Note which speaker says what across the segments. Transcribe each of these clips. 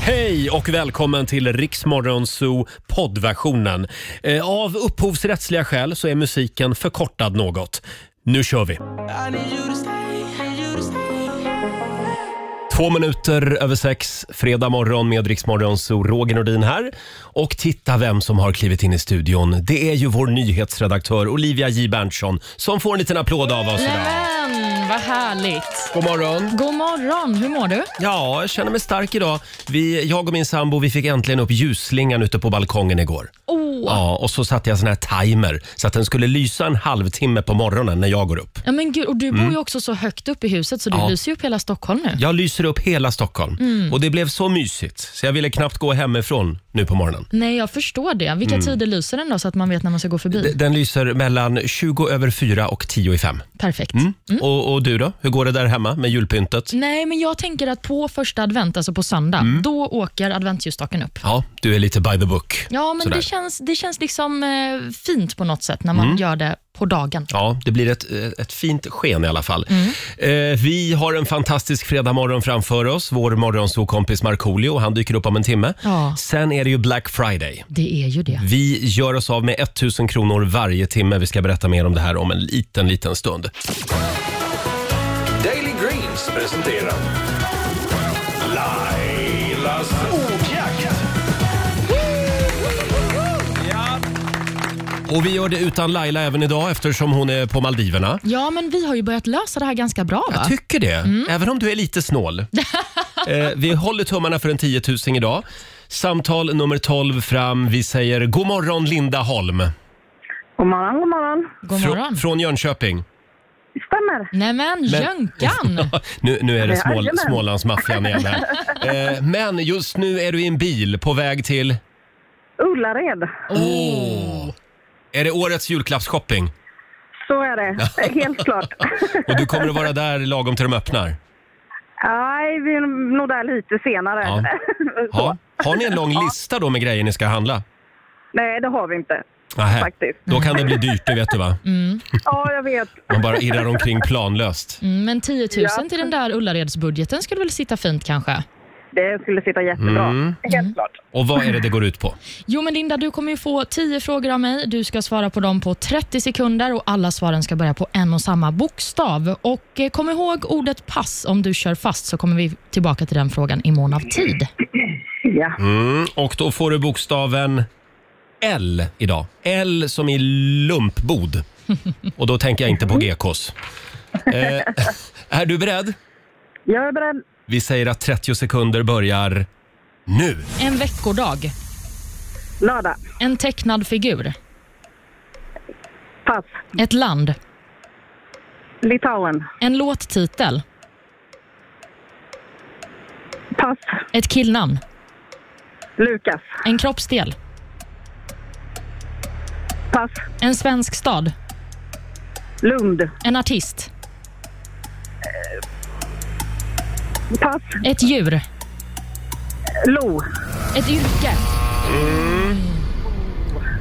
Speaker 1: Hej och välkommen till Riksmorgon Zoo poddversionen. Eh, Av upphovsrättsliga skäl så är musiken förkortad något. Nu kör vi! Två minuter över sex, fredag morgon med Riksmorgon Zoo. Roger Nordin här. Och titta vem som har klivit in i studion. Det är ju vår nyhetsredaktör Olivia J Berntsson som får en liten applåd av oss idag.
Speaker 2: Nämen, vad härligt.
Speaker 1: God morgon!
Speaker 2: God morgon, hur mår du?
Speaker 1: Ja, jag känner mig stark idag. Vi, jag och min sambo vi fick äntligen upp ljusslingan ute på balkongen igår.
Speaker 2: Åh,
Speaker 1: Ja, och så satte jag sån här timer så att den skulle lysa en halvtimme på morgonen när jag går upp.
Speaker 2: ja, men gud, och du bor ju också så högt upp i huset så du
Speaker 1: Mm. Ja.
Speaker 2: lyser ju upp hela Stockholm nu.
Speaker 1: Jag lyser upp hela Stockholm
Speaker 2: Mm.
Speaker 1: och det blev så mysigt så jag ville knappt gå hemifrån nu på morgonen.
Speaker 2: Nej, jag förstår det. Vilka
Speaker 1: Mm.
Speaker 2: tider lyser den då så att man vet när man ska gå förbi?
Speaker 1: D- Den lyser mellan 20 över 4 och 10 i 5.
Speaker 2: Perfekt.
Speaker 1: Mm. Och, och du då? Hur går det där hemma med julpyntet?
Speaker 2: Nej, men jag tänker att på första advent, alltså på söndag,
Speaker 1: Mm.
Speaker 2: då åker adventsljusstaken upp.
Speaker 1: Ja, du är lite by the book.
Speaker 2: Ja, men
Speaker 1: Sådär. Mm.
Speaker 2: det känns, det känns liksom eh, fint på något sätt när man gör det på dagen.
Speaker 1: Ja, det blir ett, eh, ett fint sken i alla fall.
Speaker 2: Mm.
Speaker 1: Eh, vi har en fantastisk fredagmorgon framför oss. Vår morgonsokompis Markoolio, han dyker upp om en timme.
Speaker 2: Ja.
Speaker 1: Sen är det ju Black Friday.
Speaker 2: Det är ju det.
Speaker 1: Vi gör oss av med 1000 kronor varje timme. Vi ska berätta mer om det här om en liten, liten stund.
Speaker 3: Daily Greens presenterar Lailas ordjakt.
Speaker 1: Och vi gör det utan Laila även idag eftersom hon är på Maldiverna.
Speaker 2: Ja, men vi har ju börjat lösa det här ganska bra va?
Speaker 1: Jag tycker det, även om du är lite snål. eh, vi håller tummarna för en 10 000 idag. Samtal nummer 12 fram. Vi säger god morgon Linda Holm
Speaker 4: God morgon, god morgon.
Speaker 2: God
Speaker 1: Frå-
Speaker 2: morgon.
Speaker 1: från Jönköping.
Speaker 4: Stämmer.
Speaker 2: Nämen, Jönkan!
Speaker 1: Nu, nu är det Smål,
Speaker 4: Jajamän.
Speaker 1: Smålandsmaffian igen här. Eh, men just nu är du i en bil på väg till...
Speaker 4: Ullared.
Speaker 1: Åh! Är det årets julklappsshopping?
Speaker 4: Så är det. Helt klart.
Speaker 1: Och du kommer att vara där lagom till de öppnar?
Speaker 4: Nej, vi är nog där lite senare.
Speaker 1: Ja.
Speaker 4: Så.
Speaker 1: Ja. Har ni en lång lista då med grejer ni ska handla?
Speaker 4: Nej, det har vi inte.
Speaker 1: Nähä.
Speaker 4: Faktiskt.
Speaker 1: Då kan det bli dyrt, det vet du va?
Speaker 2: Mm.
Speaker 4: Ja, jag vet.
Speaker 1: Man bara irrar omkring planlöst.
Speaker 2: Mm, Men 10 000
Speaker 4: Ja.
Speaker 2: till den där Ullaredsbudgeten skulle väl sitta fint kanske?
Speaker 4: Det skulle sitta jättebra.
Speaker 1: Mm.
Speaker 4: Helt klart.
Speaker 1: Och vad är det det går ut på?
Speaker 2: Jo men Linda, du kommer ju få 10 frågor av mig. Du ska svara på dem på 30 sekunder och alla svaren ska börja på en och samma bokstav. Och eh, kom ihåg ordet pass om du kör fast så kommer vi tillbaka till den frågan i mån av tid.
Speaker 4: Ja.
Speaker 1: Mm, och då får du bokstaven L idag. L som i lumpbod. Och då tänker jag inte
Speaker 2: Mm.
Speaker 1: på GKs. Eh, är du beredd?
Speaker 4: Jag är beredd.
Speaker 1: Vi säger att 30 sekunder börjar nu.
Speaker 2: En veckodag.
Speaker 4: Lördag.
Speaker 2: En tecknad figur.
Speaker 4: Pass.
Speaker 2: Ett land.
Speaker 4: Litauen.
Speaker 2: En låttitel.
Speaker 4: Pass.
Speaker 2: Ett killnamn.
Speaker 4: Lukas.
Speaker 2: En kroppsdel.
Speaker 4: Pass.
Speaker 2: En svensk stad.
Speaker 4: Lund.
Speaker 2: En artist.
Speaker 4: Pass.
Speaker 2: Ett djur.
Speaker 4: Lo.
Speaker 2: Ett yrke.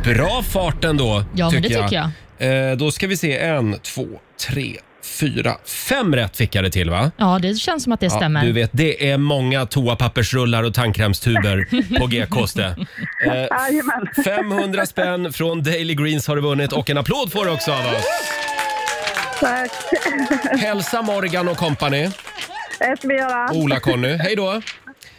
Speaker 1: Bra fart ändå,
Speaker 2: Ja, men
Speaker 1: tycker
Speaker 2: det
Speaker 1: jag.
Speaker 2: tycker jag.
Speaker 1: Eh, då ska vi se. En, två, tre, fyra, fem rätt fick jag det till va?
Speaker 2: Ja, det känns som att det
Speaker 1: Ja,
Speaker 2: stämmer.
Speaker 1: du vet, det är många toapappersrullar och tandkrämstuber på GKs det. Eh,
Speaker 4: Jajamän.
Speaker 1: 500 spänn från Daily Greens har du vunnit och en applåd får du också av oss.
Speaker 4: Tack.
Speaker 1: Hälsa Morgan och company.
Speaker 4: Det ska vi göra.
Speaker 1: Oh. Ola-Conny. Hej då.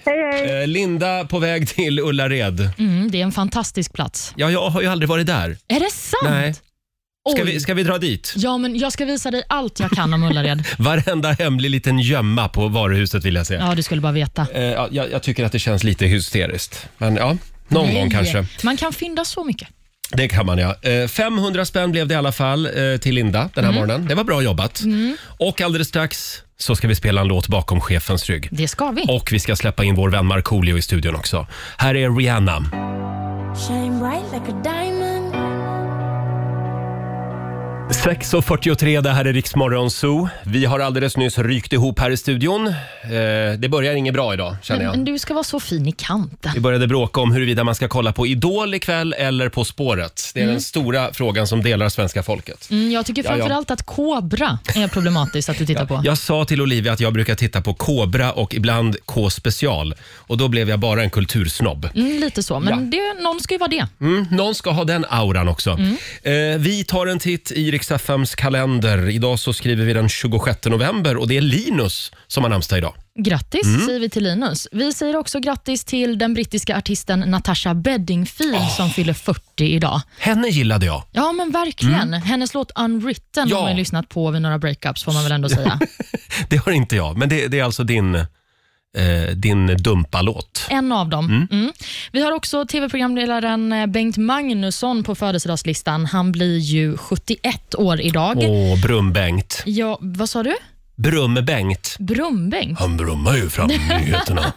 Speaker 4: Hej, hej.
Speaker 1: Eh, Linda på väg till Ullared.
Speaker 2: Mm, det är en fantastisk plats.
Speaker 1: Ja, jag har ju aldrig varit där.
Speaker 2: Är det sant?
Speaker 1: Nej. Ska
Speaker 2: Oj.
Speaker 1: vi, ska vi dra dit?
Speaker 2: Ja, men jag ska visa dig allt jag kan om Ullared.
Speaker 1: Varenda hemlig liten gömma på varuhuset vill jag säga.
Speaker 2: Ja, du skulle bara veta.
Speaker 1: Eh, ja, jag, jag tycker att det känns lite hysteriskt. Men ja, någon gång
Speaker 2: Nej.
Speaker 1: kanske.
Speaker 2: Man kan fynda så mycket.
Speaker 1: Det kan man ja. Eh, 500 spänn blev det i alla fall eh, till Linda den här morgonen. Det var bra jobbat. Och alldeles strax så ska vi spela en låt bakom chefens rygg.
Speaker 2: Det ska vi.
Speaker 1: Och vi ska släppa in vår vän Markoolio i studion också. Här är Rihanna.
Speaker 5: Shine bright like a diamond.
Speaker 1: 6.43, det här är Riksmorgon Zoo. Vi har alldeles nyss rykt ihop här i studion. Eh, det börjar inget bra idag, känner
Speaker 2: Men, Mm, men
Speaker 1: jag.
Speaker 2: du ska vara så fin i kanten.
Speaker 1: Vi började bråka om huruvida man ska kolla på Idol ikväll eller På spåret. Det är den stora frågan som delar svenska folket.
Speaker 2: Mm, jag tycker
Speaker 1: Ja, ja.
Speaker 2: framförallt att kobra är problematiskt att du tittar på.
Speaker 1: Jag sa till Olivia att jag brukar titta på Kobra och ibland K-special. Och då blev jag bara en kultursnobb.
Speaker 2: Mm, lite så, men det, någon ska ju vara det.
Speaker 1: Mm, någon ska ha den auran också.
Speaker 2: Mm.
Speaker 1: Eh, vi tar en titt i Riks-FMs kalender. Idag så skriver vi den 26 november och det är Linus som har namnsdag idag.
Speaker 2: Grattis
Speaker 1: Mm.
Speaker 2: säger vi till Linus. Vi säger också grattis till den brittiska artisten Natasha Bedingfield som fyller 40 idag.
Speaker 1: Henne gillade jag.
Speaker 2: Ja, men verkligen. Hennes låt Unwritten
Speaker 1: Mm. Ja.
Speaker 2: har man ju lyssnat på vid några breakups, får man väl ändå säga.
Speaker 1: Det har inte jag, men det, det är alltså din, eh, din dumpalåt.
Speaker 2: En av dem. Mm. Vi har också tv-programledaren eh, Bengt Magnusson på födelsedagslistan. Han blir ju 71 år idag.
Speaker 1: Åh, Brum-Bengt.
Speaker 2: Ja, vad sa du?
Speaker 1: Brum-Bengt.
Speaker 2: Brumbengt?
Speaker 1: Han brummar ju fram nyheterna.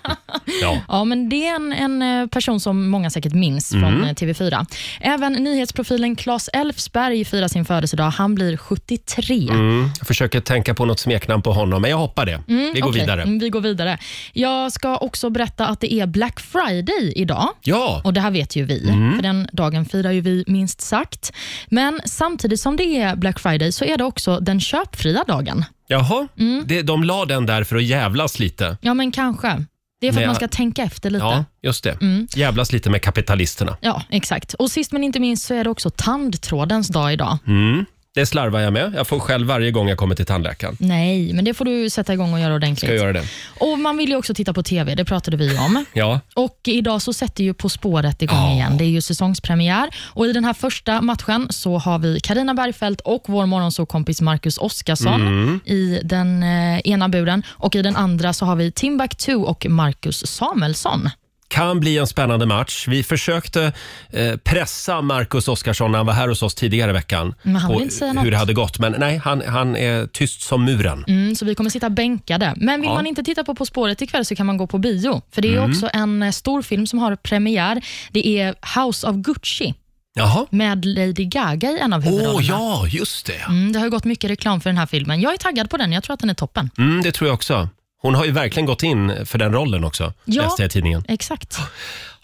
Speaker 1: Ja.
Speaker 2: Ja, men det är en, en eh, person som många säkert minns
Speaker 1: Mm.
Speaker 2: från eh, TV4. Även nyhetsprofilen Claes Elfsberg firar sin födelsedag. Han blir 73.
Speaker 1: Mm, jag försöker tänka på något smeknamn på honom, men jag hoppar det. vi går
Speaker 2: Okej,
Speaker 1: vidare.
Speaker 2: mm, Vi går vidare. Jag ska också berätta att det är Black Friday idag.
Speaker 1: Ja,
Speaker 2: Och Det här vet ju vi,
Speaker 1: Mm.
Speaker 2: för den dagen firar ju vi minst sagt. Men samtidigt som det är Black Friday så är det också den köpfria dagen.
Speaker 1: jaha.
Speaker 2: Mm.
Speaker 1: Det, de la den där för att jävlas lite.
Speaker 2: Ja, men kanske. Det är
Speaker 1: Men
Speaker 2: för att man
Speaker 1: jag-
Speaker 2: ska tänka efter lite. Mm.
Speaker 1: Ja, just det. Jävlas lite med kapitalisterna.
Speaker 2: Ja, exakt. Och Sist men inte minst så är det också tandtrådens dag idag.
Speaker 1: Mm. Det slarvar jag med. Jag får själv varje gång jag kommer till tandläkaren.
Speaker 2: Nej, men det får du sätta igång och göra ordentligt.
Speaker 1: Ska jag göra det?
Speaker 2: Och Man vill ju också titta på TV, det pratade vi ju om.
Speaker 1: Ja.
Speaker 2: Och Idag så sätter ju På spåret igång
Speaker 1: Ja.
Speaker 2: igen. Det är ju säsongspremiär. Och I den här första matchen så har vi Karina Bergfeldt och vår morgonsåkompis Marcus Oskarsson
Speaker 1: Mm.
Speaker 2: i den eh, ena buren. Och I den andra så har vi Timbuktu och Marcus Samuelsson.
Speaker 1: Kan bli en spännande match. Vi försökte eh, pressa Marcus Oskarsson när han var här hos oss tidigare i veckan.
Speaker 2: Men han
Speaker 1: på
Speaker 2: vill inte säga
Speaker 1: hur
Speaker 2: något.
Speaker 1: det hade gått. Men nej, han, han är tyst som muren.
Speaker 2: Mm, så vi kommer sitta bänkade. Men vill
Speaker 1: Ja. Mm.
Speaker 2: man inte titta på På spåret ikväll så kan man gå på bio. För Det är ju också en eh, stor film som har premiär. Det är House of Gucci
Speaker 1: Jaha.
Speaker 2: med Lady Gaga i en av
Speaker 1: Åh,
Speaker 2: huvudrollerna.
Speaker 1: ja, just det.
Speaker 2: Mm, det har ju gått mycket reklam för den här filmen. Jag är taggad på den. Jag tror att den är toppen.
Speaker 1: Mm, det tror jag också. Hon har ju verkligen gått in för den rollen också,
Speaker 2: Ja.
Speaker 1: läste jag i tidningen.
Speaker 2: Exakt.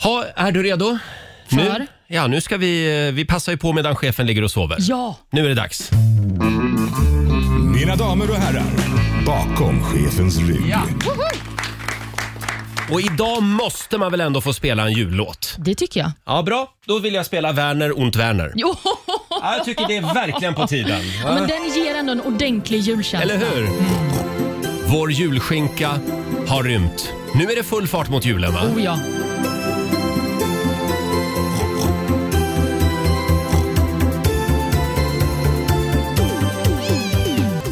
Speaker 1: Ha, är du redo? Nu,
Speaker 2: För?
Speaker 1: ja, nu ska vi... eh, Vi passar ju på medan chefen ligger och sover.
Speaker 2: Ja.
Speaker 1: Nu är det dags.
Speaker 5: Mina damer och herrar, bakom chefens rygg.
Speaker 1: Och idag måste man väl ändå få spela en jullåt?
Speaker 2: Det tycker jag.
Speaker 1: Ja, bra. Då vill jag spela Werner und Werner.
Speaker 2: Jo,
Speaker 1: Ja, jag tycker det är verkligen på tiden.
Speaker 2: ja, men den ger ändå en ordentlig julkänsla.
Speaker 1: Eller hur? Vår julskinka har rymt. Nu är det full fart mot julen, va?
Speaker 2: Oh ja.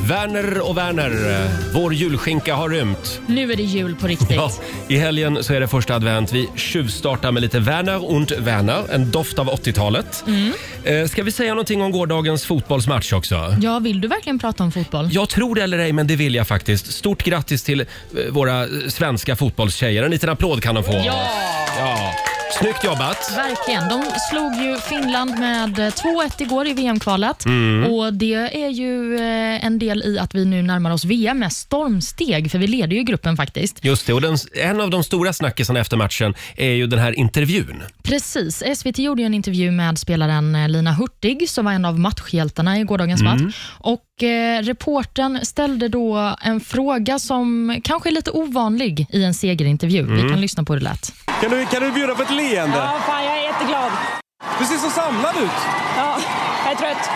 Speaker 1: Werner och Werner, eh, vår julskinka har rymt.
Speaker 2: Nu är det jul på riktigt.
Speaker 1: Ja, I helgen så är det första advent. Vi tjuvstartar med lite Werner und Werner, en doft av 80-talet. Eh, Ska vi säga någonting om gårdagens fotbollsmatch också?
Speaker 2: Ja, vill du verkligen prata om fotboll?
Speaker 1: Jag tror det eller ej, men det vill jag faktiskt. Stort grattis till eh, våra eh, svenska fotbollstjejer. En liten applåd kan de få.
Speaker 2: Ja.
Speaker 1: ja. Snyggt jobbat!
Speaker 2: Verkligen. De slog ju Finland med eh, 2-1 igår i VM-kvalet.
Speaker 1: Mm.
Speaker 2: Och Det är ju eh, en del i att vi nu närmar oss VM med stormsteg, för vi leder ju gruppen faktiskt.
Speaker 1: Just det, och den, en av de stora snackisarna efter matchen är ju den här intervjun.
Speaker 2: Precis. SVT gjorde ju en intervju med spelaren eh, Lina Hurtig, som var en av matchhjältarna i gårdagens match. Och eh, Reportern ställde då en fråga som kanske är lite ovanlig i en segerintervju. Vi kan lyssna på hur det lät.
Speaker 6: Kan du, kan du bjuda på ett leende?
Speaker 7: Ja, fan jag är jätteglad.
Speaker 6: Du ser så samlad ut.
Speaker 7: Ja, jag är trött.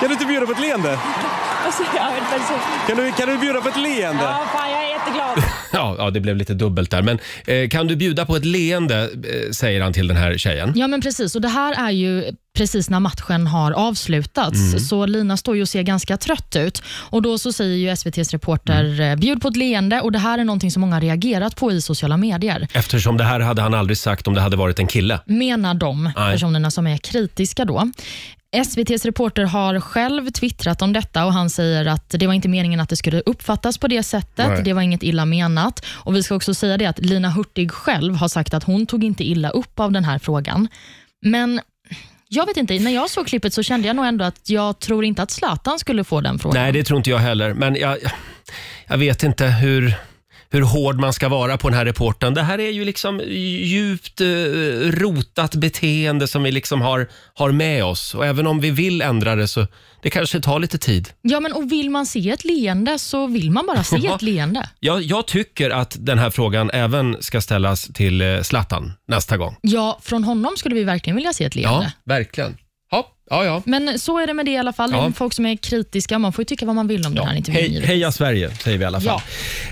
Speaker 6: Kan du inte bjuda på ett leende?
Speaker 7: Alltså, jag är väldigt trött.
Speaker 6: Kan du, kan du bjuda på ett leende?
Speaker 7: Ja, fan jag är jätteglad.
Speaker 1: Ja, ja, det blev lite dubbelt där. Men eh, kan du bjuda på ett leende, eh, säger han till den här tjejen.
Speaker 2: Ja, men precis. Och Det här är ju precis när matchen har avslutats, så Lina står ju och ser ganska trött ut. Och Då så säger ju SVTs reporter eh, “bjud på ett leende” och det här är någonting som många har reagerat på i sociala medier.
Speaker 1: Eftersom det här hade han aldrig sagt om det hade varit en kille.
Speaker 2: menar de
Speaker 1: Nej.
Speaker 2: personerna som är kritiska då. SVTs reporter har själv twittrat om detta och han säger att det var inte meningen att det skulle uppfattas på det sättet.
Speaker 1: Nej.
Speaker 2: Det var inget illa menat. Och Vi ska också säga det att Lina Hurtig själv har sagt att hon tog inte illa upp av den här frågan. Men Jag vet inte, när jag såg klippet så kände jag nog ändå att jag tror inte att Zlatan skulle få den frågan.
Speaker 1: Nej, det tror inte jag heller. Men jag, jag vet inte hur, hur hård man ska vara på den här reportern. Det här är ju liksom djupt eh, rotat beteende som vi liksom har, har med oss. Och även om vi vill ändra det så det kanske tar lite tid.
Speaker 2: Ja, men och vill man se ett leende så vill man bara se
Speaker 1: Ja.
Speaker 2: ett leende.
Speaker 1: Jag, jag tycker att den här frågan även ska ställas till eh, Zlatan nästa gång.
Speaker 2: Ja, från honom skulle vi verkligen vilja se ett leende.
Speaker 1: verkligen. Ja, ja, ja.
Speaker 2: Men så är det med det i alla fall. Det
Speaker 1: Ja.
Speaker 2: är folk som är kritiska. Man får ju tycka vad man vill om den här intervjun.
Speaker 1: Hej,
Speaker 2: givetvis.
Speaker 1: heja Sverige, säger vi i alla fall.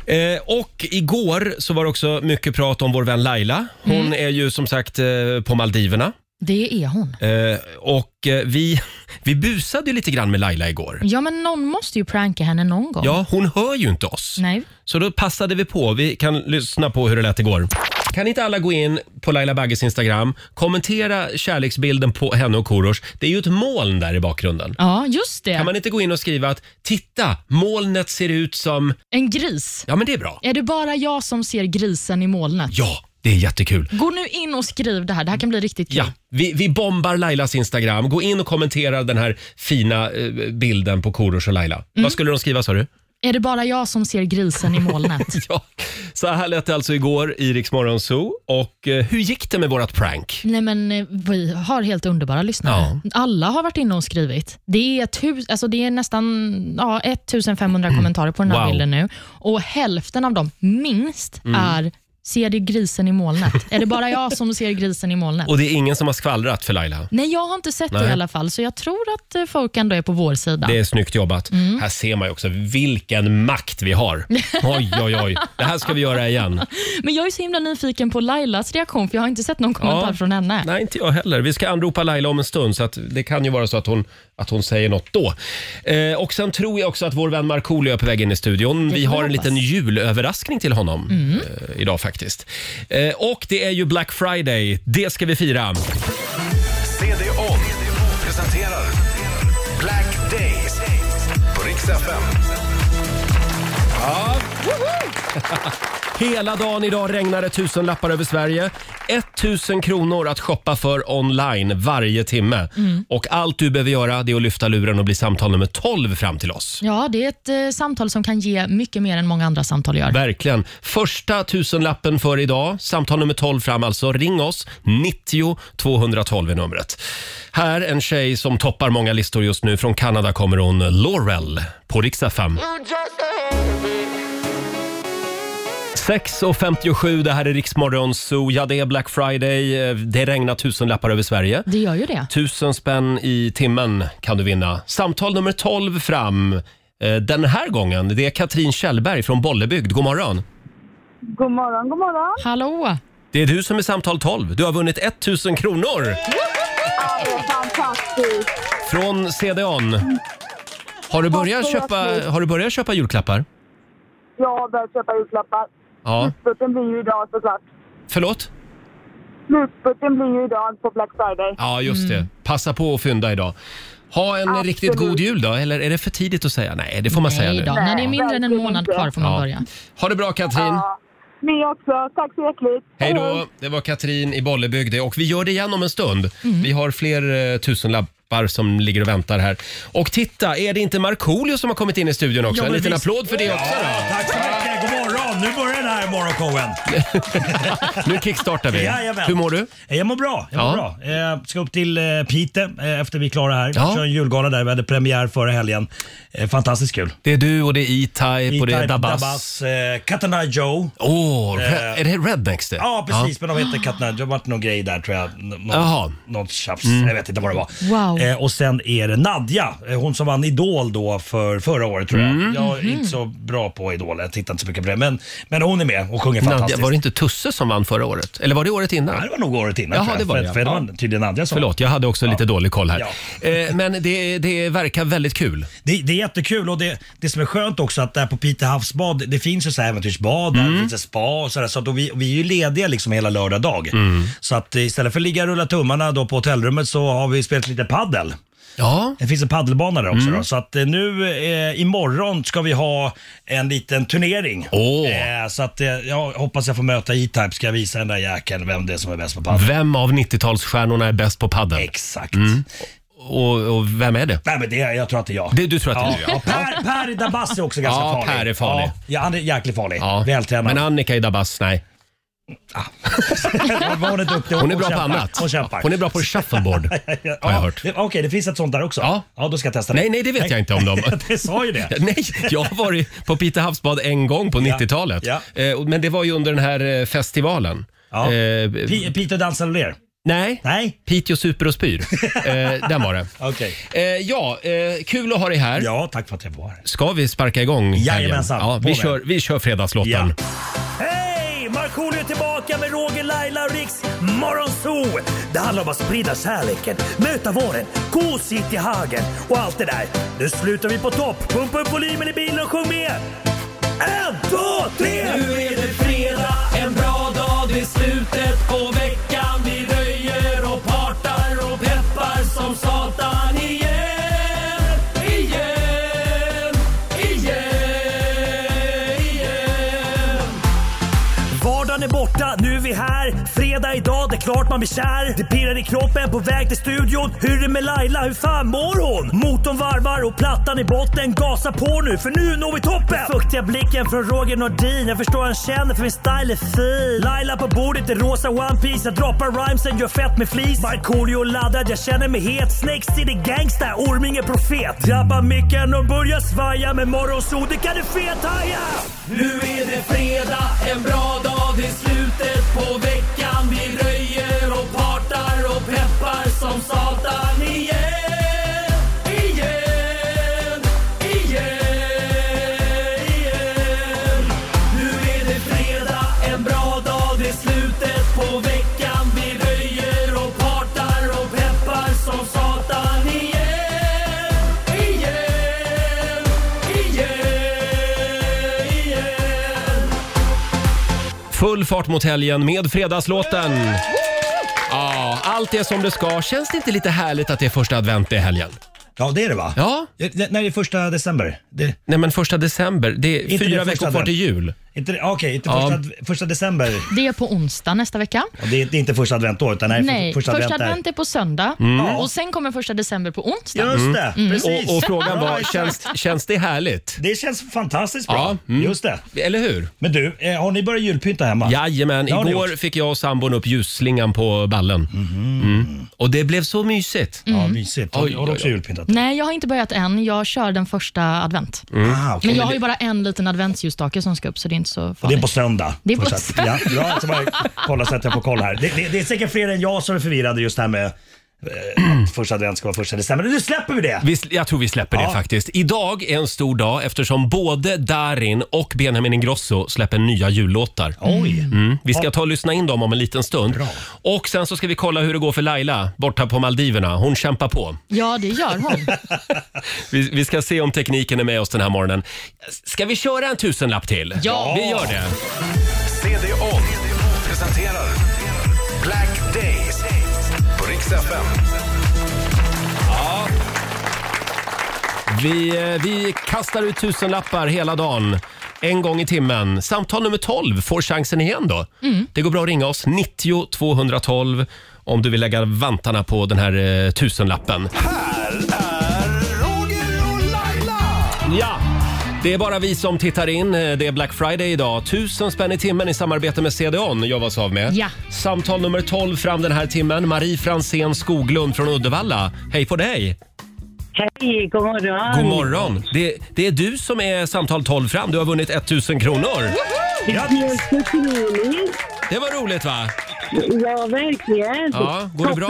Speaker 1: Eh, och igår så var det också mycket prat om vår vän Laila. Hon
Speaker 2: Mm.
Speaker 1: är ju som sagt eh, på Maldiverna.
Speaker 2: Det är hon.
Speaker 1: Eh, och eh, vi, vi busade ju lite grann med Laila igår.
Speaker 2: Ja, men någon måste ju pranka henne någon gång.
Speaker 1: Ja, hon hör ju inte oss.
Speaker 2: Nej.
Speaker 1: Så då passade vi på. Vi kan lyssna på hur det lät igår. Kan inte alla gå in på Laila Bagges Instagram, kommentera kärleksbilden på henne och Korosh. Det är ju ett moln där i bakgrunden.
Speaker 2: Ja, just det.
Speaker 1: Kan man inte gå in och skriva att “Titta, molnet ser ut som...”
Speaker 2: En gris.
Speaker 1: Ja, men det är bra.
Speaker 2: Är det bara jag som ser grisen i molnet?
Speaker 1: Ja, det är jättekul.
Speaker 2: Gå nu in och skriv det här. Det här kan bli riktigt kul.
Speaker 1: Ja, vi, vi bombar Lailas Instagram. Gå in och kommentera den här fina eh, bilden på Korosh och Laila. Vad skulle de skriva sa du?
Speaker 2: Är det bara jag som ser grisen i molnet?
Speaker 1: Ja, så här lät det alltså igår i Rix Morgon Zoo. Och eh, hur gick det med vårt prank?
Speaker 2: Nej men eh, vi har helt underbara lyssnare. Alla har varit inne och skrivit. Det är, tus- alltså det är nästan ja, 1500 kommentarer på den här
Speaker 1: Mm. Wow. Mm.
Speaker 2: bilden nu. Och hälften av dem, minst, är “Ser du grisen i molnet?” Är det bara jag som ser grisen i molnet?
Speaker 1: Och det är ingen som har skvallrat för Laila.
Speaker 2: Nej, jag har inte sett det
Speaker 1: Nej.
Speaker 2: i alla fall, så jag tror att eh, folk ändå är på vår sida.
Speaker 1: Det är snyggt jobbat. Här ser man ju också vilken makt vi har. Oj, oj, oj. Det här ska vi göra igen.
Speaker 2: Men jag är så himla nyfiken på Lailas reaktion, för jag har inte sett någon kommentar
Speaker 1: Ja.
Speaker 2: från henne.
Speaker 1: Nej, inte jag heller. Vi ska anropa Laila om en stund, så att det kan ju vara så att hon, att hon säger något då. Eh, och Sen tror jag också att vår vän Markoolio är på väg in i studion. Vi
Speaker 2: får
Speaker 1: har en
Speaker 2: hoppas. Mm.
Speaker 1: liten julöverraskning till honom eh, idag faktiskt. Eh, och det är ju Black Friday. Det ska vi fira.
Speaker 3: CD-ON presenterar Black Days på Rix FM.
Speaker 1: Hela dagen idag regnar det tusen lappar över Sverige. 1000 kronor att shoppa för online varje timme.
Speaker 2: Mm.
Speaker 1: Och allt du behöver göra det är att lyfta luren och bli samtal nummer 12 fram till oss.
Speaker 2: Ja, det är ett eh, samtal som kan ge mycket mer än många andra samtal gör.
Speaker 1: Verkligen. Första tusenlappen för idag. Samtal nummer 12 fram alltså. Ring oss. 90 212 är numret. Här en tjej som toppar många listor just nu. Från Kanada kommer hon, Laurel, på riksdag 5. 6.57, det här är Riksmorgon Zoo. Ja, det är Black Friday. Eh, Det regnar tusenlappar över Sverige.
Speaker 2: Det gör ju det.
Speaker 1: Tusen spänn i timmen kan du vinna. Samtal nummer 12 fram. eh, Den här gången, det är Katrin Kjellberg från Bollebygd. God morgon.
Speaker 4: God morgon, god morgon.
Speaker 2: Hallå!
Speaker 1: Det är du som är samtal 12. Du har vunnit 1000 kronor
Speaker 4: Fantastiskt.
Speaker 1: från CDON. Har du börjat
Speaker 4: Tack så
Speaker 1: köpa,
Speaker 4: hjärtligt.
Speaker 1: har du börjat köpa julklappar?
Speaker 4: Jag har börjat köpa julklappar.
Speaker 1: Ja.
Speaker 4: Slutspurten blir ju idag såklart.
Speaker 1: Förlåt?
Speaker 4: Slutspurten blir ju idag på Black Friday.
Speaker 1: Ja, just det. Passa på att fynda idag. Ha en
Speaker 4: Absolut.
Speaker 1: riktigt god jul då, eller är det för tidigt att säga? Nej, det får man säga
Speaker 2: Nej
Speaker 1: nu.
Speaker 2: då, när det är
Speaker 4: Nej,
Speaker 2: mindre än en
Speaker 4: verkligen
Speaker 2: månad
Speaker 4: inte.
Speaker 2: kvar får man börja.
Speaker 1: Ha det bra Katrin.
Speaker 4: Ja. Ni också. Tack så hjärtligt.
Speaker 1: Hej då. Det var Katrin i Bollebygd det. och vi gör det igen om en stund.
Speaker 8: Mhm.
Speaker 1: Vi har fler eh, tusenlappar som ligger och väntar här. Och titta, är det inte Markoolio som har kommit in i studion också? en
Speaker 8: men
Speaker 1: liten
Speaker 8: visst.
Speaker 1: applåd för det också då.
Speaker 8: Tack så mycket, god morgon. Nu börjar den här morgonshowen.
Speaker 1: Nu kickstartar vi.
Speaker 8: Jajamän.
Speaker 1: Hur mår du?
Speaker 8: Eh, Jag mår bra. Jag mår
Speaker 1: Ja.
Speaker 8: bra. Eh, ska upp till eh, Piteå eh, efter vi är klara här.
Speaker 1: Ja.
Speaker 8: Kör en julgala där. Vi hade premiär förra helgen. Eh, fantastiskt kul.
Speaker 1: Det är du och det är E-Type och det är
Speaker 8: E-Type,
Speaker 1: Dabas.
Speaker 8: eh, Cat and I Joe.
Speaker 1: Åh, re- är det Rednecks det?
Speaker 8: Eh. Ja, precis. Men de heter Cat and I Joe. Det har varit någon grej där tror jag. Nå- nå-
Speaker 1: Jaha. Mm.
Speaker 8: Något tjafs. Jag vet inte vad det var.
Speaker 2: Wow.
Speaker 8: Eh, och sen är det Nadja. Eh, Hon som vann Idol då för förra året tror jag.
Speaker 1: Mm.
Speaker 8: Jag är
Speaker 1: Mhm.
Speaker 8: inte så bra på Idol. Jag tittar inte så mycket på det. Men, men hon är med och sjunger
Speaker 1: Ja. Nadja,
Speaker 8: fantastiskt.
Speaker 1: var det inte Tusse som vann förra året? Eller var det året innan?
Speaker 8: Ja, det var nog året innan.
Speaker 1: Jaha,
Speaker 8: tror jag.
Speaker 1: det var
Speaker 8: för,
Speaker 1: det, ja.
Speaker 8: För det var tydligen andra som
Speaker 1: Förlåt, jag hade också lite dålig koll här.
Speaker 8: Ja.
Speaker 1: Eh, men det, det verkar väldigt kul.
Speaker 8: Det, det är jättekul och det, det som är skönt också att där på Pite havsbad, det finns ju så här äventyrsbad, där det finns ett spa och sådär. Så att då vi, vi är ju lediga liksom hela lördag dag. Så att istället för att ligga och rulla tummarna då på hotellrummet så har vi spelat lite paddel.
Speaker 1: Ja.
Speaker 8: Det finns en paddelbana där också. Då. Så att eh, nu eh, imorgon ska vi ha en liten turnering.
Speaker 1: Åh.
Speaker 8: Eh, så att eh, jag hoppas jag får möta E-Type. Ska jag visa den där jäkeln vem det är som är bäst på paddel.
Speaker 1: Vem av 90-talsstjärnorna är bäst på padel?
Speaker 8: Exakt.
Speaker 1: Och, och vem är det?
Speaker 8: Nej men det, jag tror att det är jag.
Speaker 1: Det- du tror att det är
Speaker 8: ja.
Speaker 1: du, ja.
Speaker 8: ja. Per, per Dabas är också ganska
Speaker 1: Ja,
Speaker 8: farlig.
Speaker 1: Per är farlig.
Speaker 8: Ja, Ja, han är jäkligt farlig.
Speaker 1: Ja.
Speaker 8: Vältränad.
Speaker 1: Men Annika i Dabas, nej.
Speaker 8: hon är duktig.
Speaker 1: Hon är bra på
Speaker 8: kämpar.
Speaker 1: annat.
Speaker 8: Hon kämpar.
Speaker 1: Hon är bra på shuffleboard.
Speaker 8: Ja,
Speaker 1: har jag hört.
Speaker 8: det- Okej, det finns ett sånt där också?
Speaker 1: Ja.
Speaker 8: Ja, då ska jag testa det.
Speaker 1: Nej, nej, det vet jag inte om dem.
Speaker 8: det sa ju det.
Speaker 1: Nej, jag har varit på Pite havsbad en gång på 90-talet.
Speaker 8: Ja.
Speaker 1: Eh, och- Men det var ju under den här eh, festivalen.
Speaker 8: Ja.
Speaker 1: Eh,
Speaker 8: P- Peter dansar och ler?
Speaker 1: nej,
Speaker 8: Nej.
Speaker 1: Piteå super och spyr. eh, den var det.
Speaker 8: Okej.
Speaker 1: Eh, ja, eh, kul att ha dig här.
Speaker 8: Ja, tack för att jag var här.
Speaker 1: Ska vi sparka igång helgen?
Speaker 8: Jajamensan,
Speaker 1: ja,
Speaker 8: på
Speaker 1: vi,
Speaker 8: med.
Speaker 1: kör, vi kör fredagslotten.
Speaker 8: Hej! Markoolio är tillbaka med Roger, Laila och Riks Morgonzoo! Det handlar om att sprida kärleken, möta våren, gosigt i hagen och allt det där. Nu slutar vi på topp! Pumpa upp volymen i bilen och sjung med! En, två, tre! Nu är det fredag, en bra dag, det är slutet på veckan. Vi röjer och partar och peppar som satan igen, igen, igen, igen. Vardagen är borta, nu är vi här. Fredag idag, det är klart man blir kär. Det pirrar i kroppen på väg till studion. Hur är det med Laila, hur fan mår hon? Motorn varvar och plattan i botten. Gasa på nu, för nu når vi toppen! Den fuktiga blicken från Roger Nordin. Jag förstår han känner för min style är fin. Laila på bordet i rosa One Piece Jag droppar rhymesen, gör fett med flis. Markoolio laddad, jag känner mig het. Snakes city gangsta, Orminge profet. Drabbar micken och börjar svaja. Med morgonsol, det kan du fethaja! Nu är det fredag, en bra dag, det är slutet på veckan. Vi röjer och partar och peppar som satan igen. Igen, igen, igen. Nu är det fredag, en bra dag, det är slutet på veckan. Vi röjer och partar och peppar som satan igen. Igen, igen, igen.
Speaker 1: Full fart mot helgen med fredagslåten. Ja, allt är som det ska. Känns det inte lite härligt att det är första advent i helgen?
Speaker 8: Ja, det är det va?
Speaker 1: Ja.
Speaker 8: Det- det- När är det första december? Det,
Speaker 1: Nej, men första december. Det är
Speaker 8: Inte
Speaker 1: fyra
Speaker 8: det första
Speaker 1: veckor kvar till
Speaker 8: advent.
Speaker 1: jul.
Speaker 8: inte, okej, inte
Speaker 1: Ja.
Speaker 8: första, första december.
Speaker 2: Det är på onsdag nästa vecka.
Speaker 8: Ja, Det är, det är inte första advent då, utan nej, för-
Speaker 2: Nej, första,
Speaker 8: är-
Speaker 2: advent är på söndag och sen kommer första december på onsdag.
Speaker 8: Just det, precis.
Speaker 1: Mm. Och, och frågan
Speaker 8: Ja,
Speaker 1: var,
Speaker 8: exakt.
Speaker 1: känns, känns det härligt?
Speaker 8: Det känns fantastiskt bra.
Speaker 1: Ja, mm.
Speaker 8: Just det.
Speaker 1: Eller hur?
Speaker 8: Men du, eh, har ni börjat julpynta hemma?
Speaker 1: Jajamän,
Speaker 8: Det har ni
Speaker 1: igår
Speaker 8: gjort. Mhm.
Speaker 1: fick jag och sambon upp ljusslingan på ballen. Mm. Och det blev så mysigt.
Speaker 2: Mm.
Speaker 8: Ja, mysigt. Har,
Speaker 1: Oj,
Speaker 8: har du också
Speaker 1: oj, oj.
Speaker 8: julpyntat?
Speaker 2: Nej, jag har inte börjat än. Jag kör den första advent.
Speaker 8: Ah, okej.
Speaker 2: Men jag har ju bara en liten adventsljusstake som ska upp, så det är inte så
Speaker 8: Och det är
Speaker 2: farligt.
Speaker 8: på söndag.
Speaker 2: Det är på
Speaker 8: Fortsatt.
Speaker 2: söndag.
Speaker 8: Ja, bra, så bara kolla så att jag får koll här. Det, det, det är säkert fler än jag som är förvirrade just det här med eh, att första advent ska vara första december. Men Nu släpper vi det!
Speaker 1: Vi, sl- jag tror vi släpper det
Speaker 8: Ja.
Speaker 1: faktiskt. Idag är en stor dag eftersom både Darin och Benjamin Ingrosso släpper nya jullåtar.
Speaker 8: Oj!
Speaker 1: Mm. Vi ska ta och lyssna in dem om en liten stund. Och sen så ska vi kolla hur det går för Laila borta på Maldiverna. Hon kämpar på.
Speaker 2: Ja, det gör hon.
Speaker 1: Vi, vi ska se om tekniken är med oss den här morgonen. Ska vi köra en tusenlapp till?
Speaker 2: Ja.
Speaker 1: Vi gör det.
Speaker 3: CD-ON presenterar Black Days på Rix FM.
Speaker 1: Vi, eh, vi kastar ut tusenlappar hela dagen. En gång i timmen. Samtal nummer 12 får chansen igen då. Det går bra att ringa oss. 90 212 om du vill lägga vantarna på den här eh, tusenlappen.
Speaker 3: Här är Roger och Laila!
Speaker 1: Ja! Det är bara vi som tittar in. eh, Det är Black Friday idag. Tusen spänn i timmen i samarbete med CDON gör vi oss av med.
Speaker 2: Ja.
Speaker 1: Samtal nummer 12 fram den här timmen. Marie Fransén Skoglund från Uddevalla. Hej på dig!
Speaker 4: Hej, god morgon.
Speaker 1: God morgon! Det, det är du som är samtal 12 fram. Du har vunnit 1000 kronor.
Speaker 8: Grattis!
Speaker 1: Det var roligt va?
Speaker 4: Ja, verkligen.
Speaker 1: Ja, går det bra?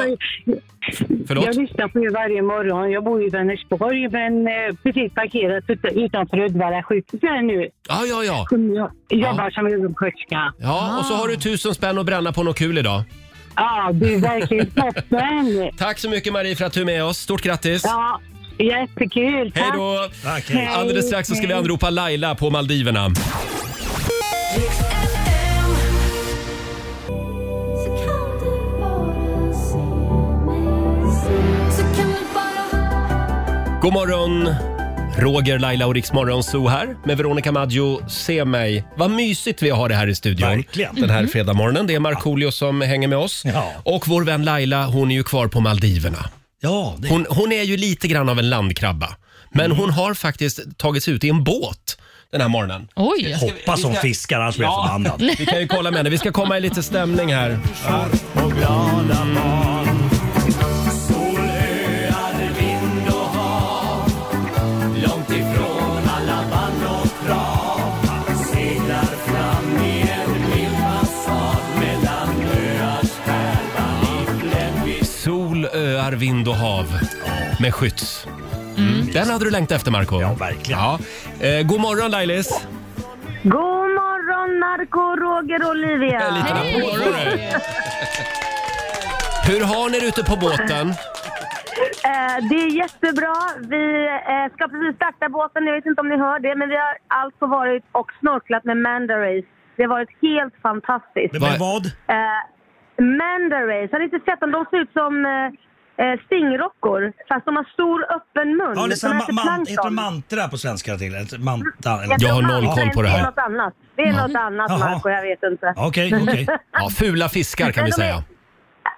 Speaker 1: Förlåt?
Speaker 4: Jag lyssnar på er varje morgon. Jag bor ju i Vänersborg, men eh, precis parkerat ut- utanför Uddevalla sjukhus här nu.
Speaker 1: Ja, ja, ja.
Speaker 4: Kommer Jag jobbar som ögonsköterska.
Speaker 1: Ja, och så
Speaker 8: Ah.
Speaker 1: har du 1000 spänn att bränna på något kul idag.
Speaker 4: Ja, det är verkligen toppen.
Speaker 1: Tack så mycket Marie för att du är med oss. Stort grattis!
Speaker 4: Ja, jättekul.
Speaker 1: Hej
Speaker 4: Tack.
Speaker 1: då!
Speaker 8: Tack, hej.
Speaker 1: Alldeles strax så ska vi anropa Laila på Maldiverna.
Speaker 9: Så kan du bara
Speaker 1: God morgon! Roger, Laila och Riksmorgon Zoo här med Veronica Maggio. Se mig. Vad mysigt vi har det här i studion.
Speaker 8: Verkligen. Mm.
Speaker 1: Den här fredagmorgonen. Det är Markoolio som hänger med oss.
Speaker 8: Ja.
Speaker 1: Och vår vän Laila, hon är ju kvar på Maldiverna.
Speaker 8: Ja, det,
Speaker 1: Hon, hon är ju lite grann av en landkrabba. Men hon har faktiskt tagits ut i en båt den här morgonen.
Speaker 2: Oj!
Speaker 8: hoppas hon fiskar annars blir jag
Speaker 1: Ja.
Speaker 8: förbannad.
Speaker 1: Vi kan ju kolla med henne. Vi ska komma i lite stämning här. Sol, öar, vind och hav med Skytts. Mm. Den hade du längtat efter, Marco
Speaker 8: Ja, verkligen.
Speaker 1: Ja. Eh, god morgon, Lailis.
Speaker 4: God morgon, Narko, Roger och
Speaker 1: En
Speaker 4: Olivia!
Speaker 1: liten applåd, hörru. Hur har ni det ute på båten?
Speaker 4: Eh, det är jättebra. Vi eh, ska precis starta båten, jag vet inte om ni hör det, men vi har alltså varit och snorklat med Mandarace. Det har varit helt fantastiskt.
Speaker 8: Men
Speaker 1: Vad-
Speaker 8: vad? vad?
Speaker 4: Eh, Mandarace, har ni inte sett dem? De ser ut som eh, eh, stingrockor, fast de har stor öppen mun.
Speaker 8: Ja, det är så
Speaker 4: de
Speaker 8: här,
Speaker 4: äter
Speaker 8: ma- man, heter det
Speaker 4: plankton.
Speaker 8: mantra på svenska till? Ett Manta eller?
Speaker 4: Jag
Speaker 1: Jag
Speaker 4: tror
Speaker 1: har noll
Speaker 4: mantra
Speaker 1: koll på det
Speaker 4: är
Speaker 1: här.
Speaker 4: något annat. Det är något annat,
Speaker 8: Jaha.
Speaker 4: Marco, jag vet inte. Eh,
Speaker 8: Okej, okej.
Speaker 1: Ja, fula fiskar kan vi säga.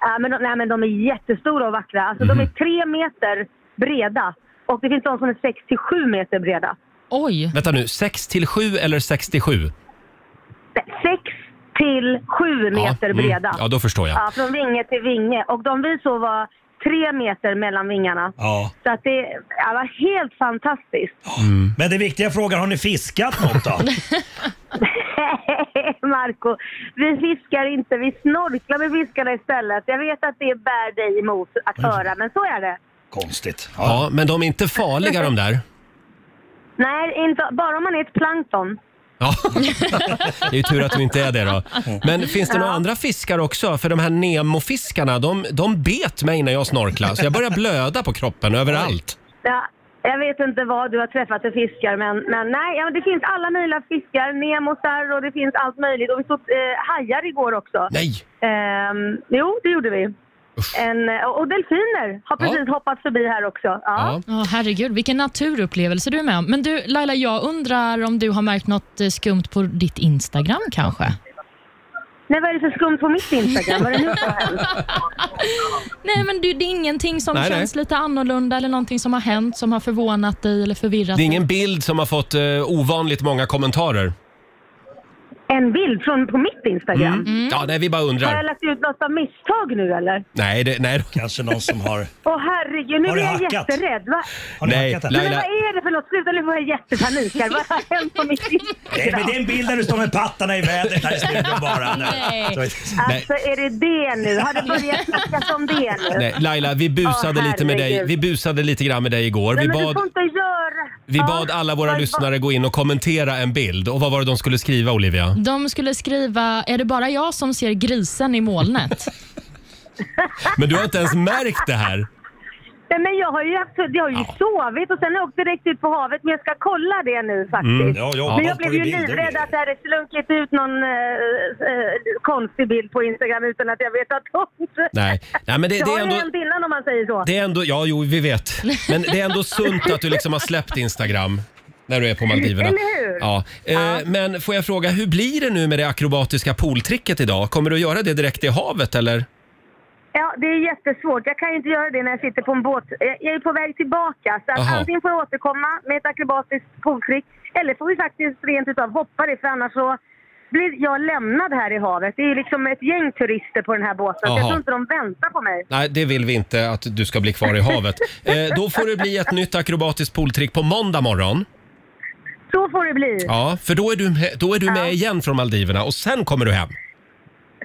Speaker 4: Ja, men de, nej, men de är jättestora och vackra. Alltså, De är
Speaker 8: Mhm.
Speaker 4: tre meter breda och det finns de som är sex till sju meter breda.
Speaker 2: Oj!
Speaker 1: Vänta nu, 6 till 7 eller 67?
Speaker 4: Sex till sju meter
Speaker 1: mm.
Speaker 4: breda.
Speaker 1: Ja, då förstår jag.
Speaker 4: Ja, från vinge till vinge. Och de vi såg var tre meter mellan vingarna.
Speaker 8: Ja.
Speaker 4: Så att det ja, var helt fantastiskt.
Speaker 8: Men den viktiga frågan, har ni fiskat något då?
Speaker 4: Marco, vi fiskar inte, vi snorklar med fiskarna istället. Jag vet att det bär dig emot att höra, men så är det.
Speaker 8: Konstigt. Ja.
Speaker 1: Ja, men de är inte farliga de där.
Speaker 4: Nej, inte, bara om man är ett plankton.
Speaker 1: Ja. Det är ju tur att du inte är det då. Men finns det några andra fiskar också? För de här Nemo-fiskarna, de, de bet mig när jag snorklade. Så jag började blöda på kroppen överallt.
Speaker 4: Ja, jag vet inte vad du har träffat för fiskar, men, men nej, ja, det finns alla möjliga fiskar. Nemosar och det finns allt möjligt. Och vi såg eh, hajar igår också.
Speaker 1: Nej!
Speaker 4: Ehm, jo, det gjorde vi. En, eh, och delfiner har precis hoppat förbi här också. Ja.
Speaker 1: Ja.
Speaker 2: Ja, herregud, vilken naturupplevelse du är med om. Men du, Laila, jag undrar om du har märkt något eh, skumt på ditt Instagram kanske?
Speaker 4: Nej, vad är det för skumt på mitt Instagram? Vad är det nu som har hänt?
Speaker 2: Nej, men du, det är ingenting som
Speaker 1: Nej,
Speaker 2: känns lite annorlunda eller någonting som har hänt som har förvånat dig eller förvirrat
Speaker 1: Det är
Speaker 2: dig?
Speaker 1: ingen bild som har fått eh, ovanligt många kommentarer.
Speaker 4: En bild från, på mitt Instagram?
Speaker 1: Ja, nej, vi bara
Speaker 4: Har jag
Speaker 1: undrar.
Speaker 4: lagt ut något av misstag nu eller?
Speaker 1: Nej, det, nej.
Speaker 8: Kanske någon som har...
Speaker 4: Åh herregud, nu
Speaker 8: Har
Speaker 4: blir
Speaker 8: du
Speaker 4: jag
Speaker 8: hackat?
Speaker 4: jätterädd. Va?
Speaker 8: Har ni
Speaker 1: Nej,
Speaker 8: hackat den?
Speaker 1: Laila-
Speaker 4: Men vad är det för något? Sluta nu får jag jättepanik här. Vad har hänt på mitt
Speaker 8: Nej,
Speaker 4: Instagram?
Speaker 8: men det är en bild där du står med pattarna i vädret här i studion bara.
Speaker 2: Nej.
Speaker 8: Så-
Speaker 4: Alltså är det det nu? Har det börjat snackas om det nu?
Speaker 1: nej. Laila, vi busade
Speaker 4: Åh,
Speaker 1: lite med dig.
Speaker 4: herregud.
Speaker 1: Vi busade lite grann med dig igår.
Speaker 4: Nej,
Speaker 1: Vi
Speaker 4: men du
Speaker 1: bad,
Speaker 4: får inte göra...
Speaker 1: vi
Speaker 4: Ja,
Speaker 1: bad alla våra
Speaker 4: vad-
Speaker 1: lyssnare gå in och kommentera en bild. Och vad var det de skulle skriva, Olivia?
Speaker 2: De skulle skriva, är det bara jag som ser grisen i molnet?
Speaker 1: Men du har inte ens märkt det här.
Speaker 4: Nej, men jag har ju, haft, jag har ju sovit och sen har jag åkt direkt ut på havet. Men jag ska kolla det
Speaker 1: Mm.
Speaker 4: nu faktiskt.
Speaker 8: Ja, jag
Speaker 4: Men
Speaker 8: har
Speaker 4: jag
Speaker 8: kollat
Speaker 4: blev
Speaker 8: på
Speaker 4: ju
Speaker 8: din bild, det
Speaker 4: livrädd
Speaker 8: blir-
Speaker 4: att det hade slunkit ut någon eh, eh, konstig bild på Instagram utan att jag vetat om det.
Speaker 1: Nej, Nej men det,
Speaker 4: Det,
Speaker 1: det
Speaker 4: har
Speaker 1: är
Speaker 4: ju
Speaker 1: ändå...
Speaker 4: hänt innan om man säger så.
Speaker 1: Det är ändå, ja jo vi vet. Men det är ändå sunt att du liksom har släppt Instagram när du är på Maldiverna.
Speaker 4: Eller hur?
Speaker 1: Ja. Eh, Men får jag fråga, hur blir det nu med det akrobatiska pooltricket idag? Kommer du att göra det direkt i havet eller?
Speaker 4: Ja, det är jättesvårt. Jag kan ju inte göra det när jag sitter på en båt. Jag jag är på väg tillbaka. Så att
Speaker 1: Aha.
Speaker 4: antingen får jag återkomma med ett akrobatiskt provtrick eller får vi faktiskt rent utav hoppa det för annars så blir jag lämnad här i havet. Det är ju liksom ett gäng turister på den här båten. Så jag
Speaker 1: Aha.
Speaker 4: tror inte de väntar på mig.
Speaker 1: Nej, det vill vi inte att du ska bli kvar i havet. Eh, då får det bli ett nytt akrobatiskt pooltrick på måndag morgon.
Speaker 4: Så får det bli.
Speaker 1: Ja, för då är du, he- då är du med igen från Maldiverna och sen kommer du hem.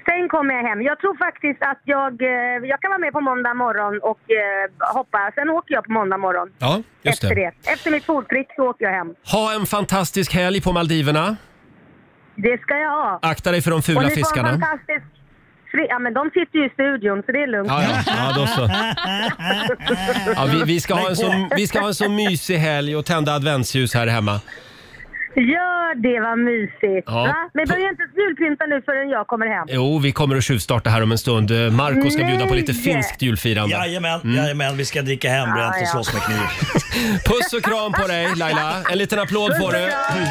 Speaker 4: Sen kommer jag hem. Jag tror faktiskt att jag, eh, jag kan vara med på måndag morgon och eh, hoppa. Sen åker jag på måndag morgon.
Speaker 1: Ja, just
Speaker 4: Efter
Speaker 1: det.
Speaker 4: det. Efter mitt provtrick så åker jag hem.
Speaker 1: Ha en fantastisk helg på Maldiverna.
Speaker 4: Det ska jag ha.
Speaker 1: Akta dig för de
Speaker 4: Och
Speaker 1: fula
Speaker 4: ni får en
Speaker 1: fiskarna.
Speaker 4: fantastisk fri- Ja, men de sitter ju i studion så det är lugnt.
Speaker 1: Ja, ja. ja då så. Ja, vi, vi, ska ha
Speaker 8: Lägg
Speaker 1: en så,
Speaker 8: på.
Speaker 1: vi ska ha en så mysig helg och tända adventsljus här hemma.
Speaker 4: Gör det, vad mysigt.
Speaker 1: Ja.
Speaker 4: Va? Men börja inte julpynta nu förrän jag kommer hem.
Speaker 1: Jo, vi kommer att tjuvstarta här om en stund. Eh, Marco ska bjuda på lite
Speaker 4: Nej.
Speaker 1: finskt julfirande.
Speaker 8: Jajamän,
Speaker 1: Mm.
Speaker 8: jajamän, vi ska dricka hembränt och slåss med kniv.
Speaker 1: Puss och kram på dig Laila. En liten applåd får du.
Speaker 4: Hej.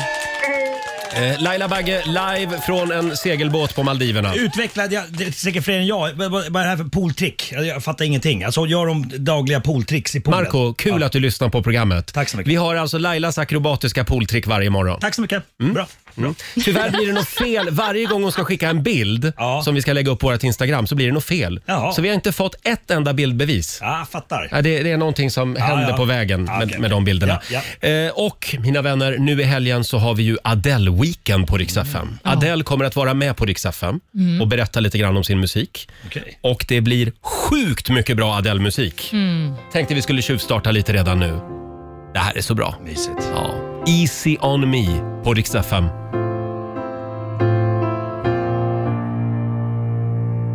Speaker 1: Eh, Laila Bagge live från en segelbåt på Maldiverna.
Speaker 8: Utvecklade, jag, det är säkert fler än jag, vad vad- vad är det här för pooltrick? Jag, jag fattar ingenting. Alltså gör de dagliga pooltricks i poolen?
Speaker 1: Marco, kul att du lyssnar på programmet.
Speaker 8: Tack så mycket.
Speaker 1: Vi har alltså Lailas akrobatiska pooltrick varje morgon.
Speaker 8: Tack så mycket, bra.
Speaker 1: Mm. Tyvärr blir det något fel. Varje gång hon ska skicka en bild
Speaker 8: Ja.
Speaker 1: som vi ska lägga upp på vårt Instagram så blir det något fel.
Speaker 8: Jaha.
Speaker 1: Så vi har inte fått ett enda bildbevis.
Speaker 8: Ja, jag fattar.
Speaker 1: Ja, det, det är någonting som händer
Speaker 8: ja.
Speaker 1: på vägen
Speaker 8: Ja,
Speaker 1: med,
Speaker 8: okej,
Speaker 1: med
Speaker 8: okej.
Speaker 1: de bilderna.
Speaker 8: Ja,
Speaker 1: Eh, och mina vänner, nu i helgen så har vi ju Adele-weekend på Rix FM.
Speaker 8: Mm.
Speaker 1: Adele kommer att vara med på Rix FM och berätta lite grann om sin musik.
Speaker 8: Okej.
Speaker 1: Och det blir sjukt mycket bra Adele-musik. Tänkte vi skulle tjuvstarta lite redan nu. Det här är så bra.
Speaker 8: Mysigt.
Speaker 1: Ja. Easy on me på Rix FM.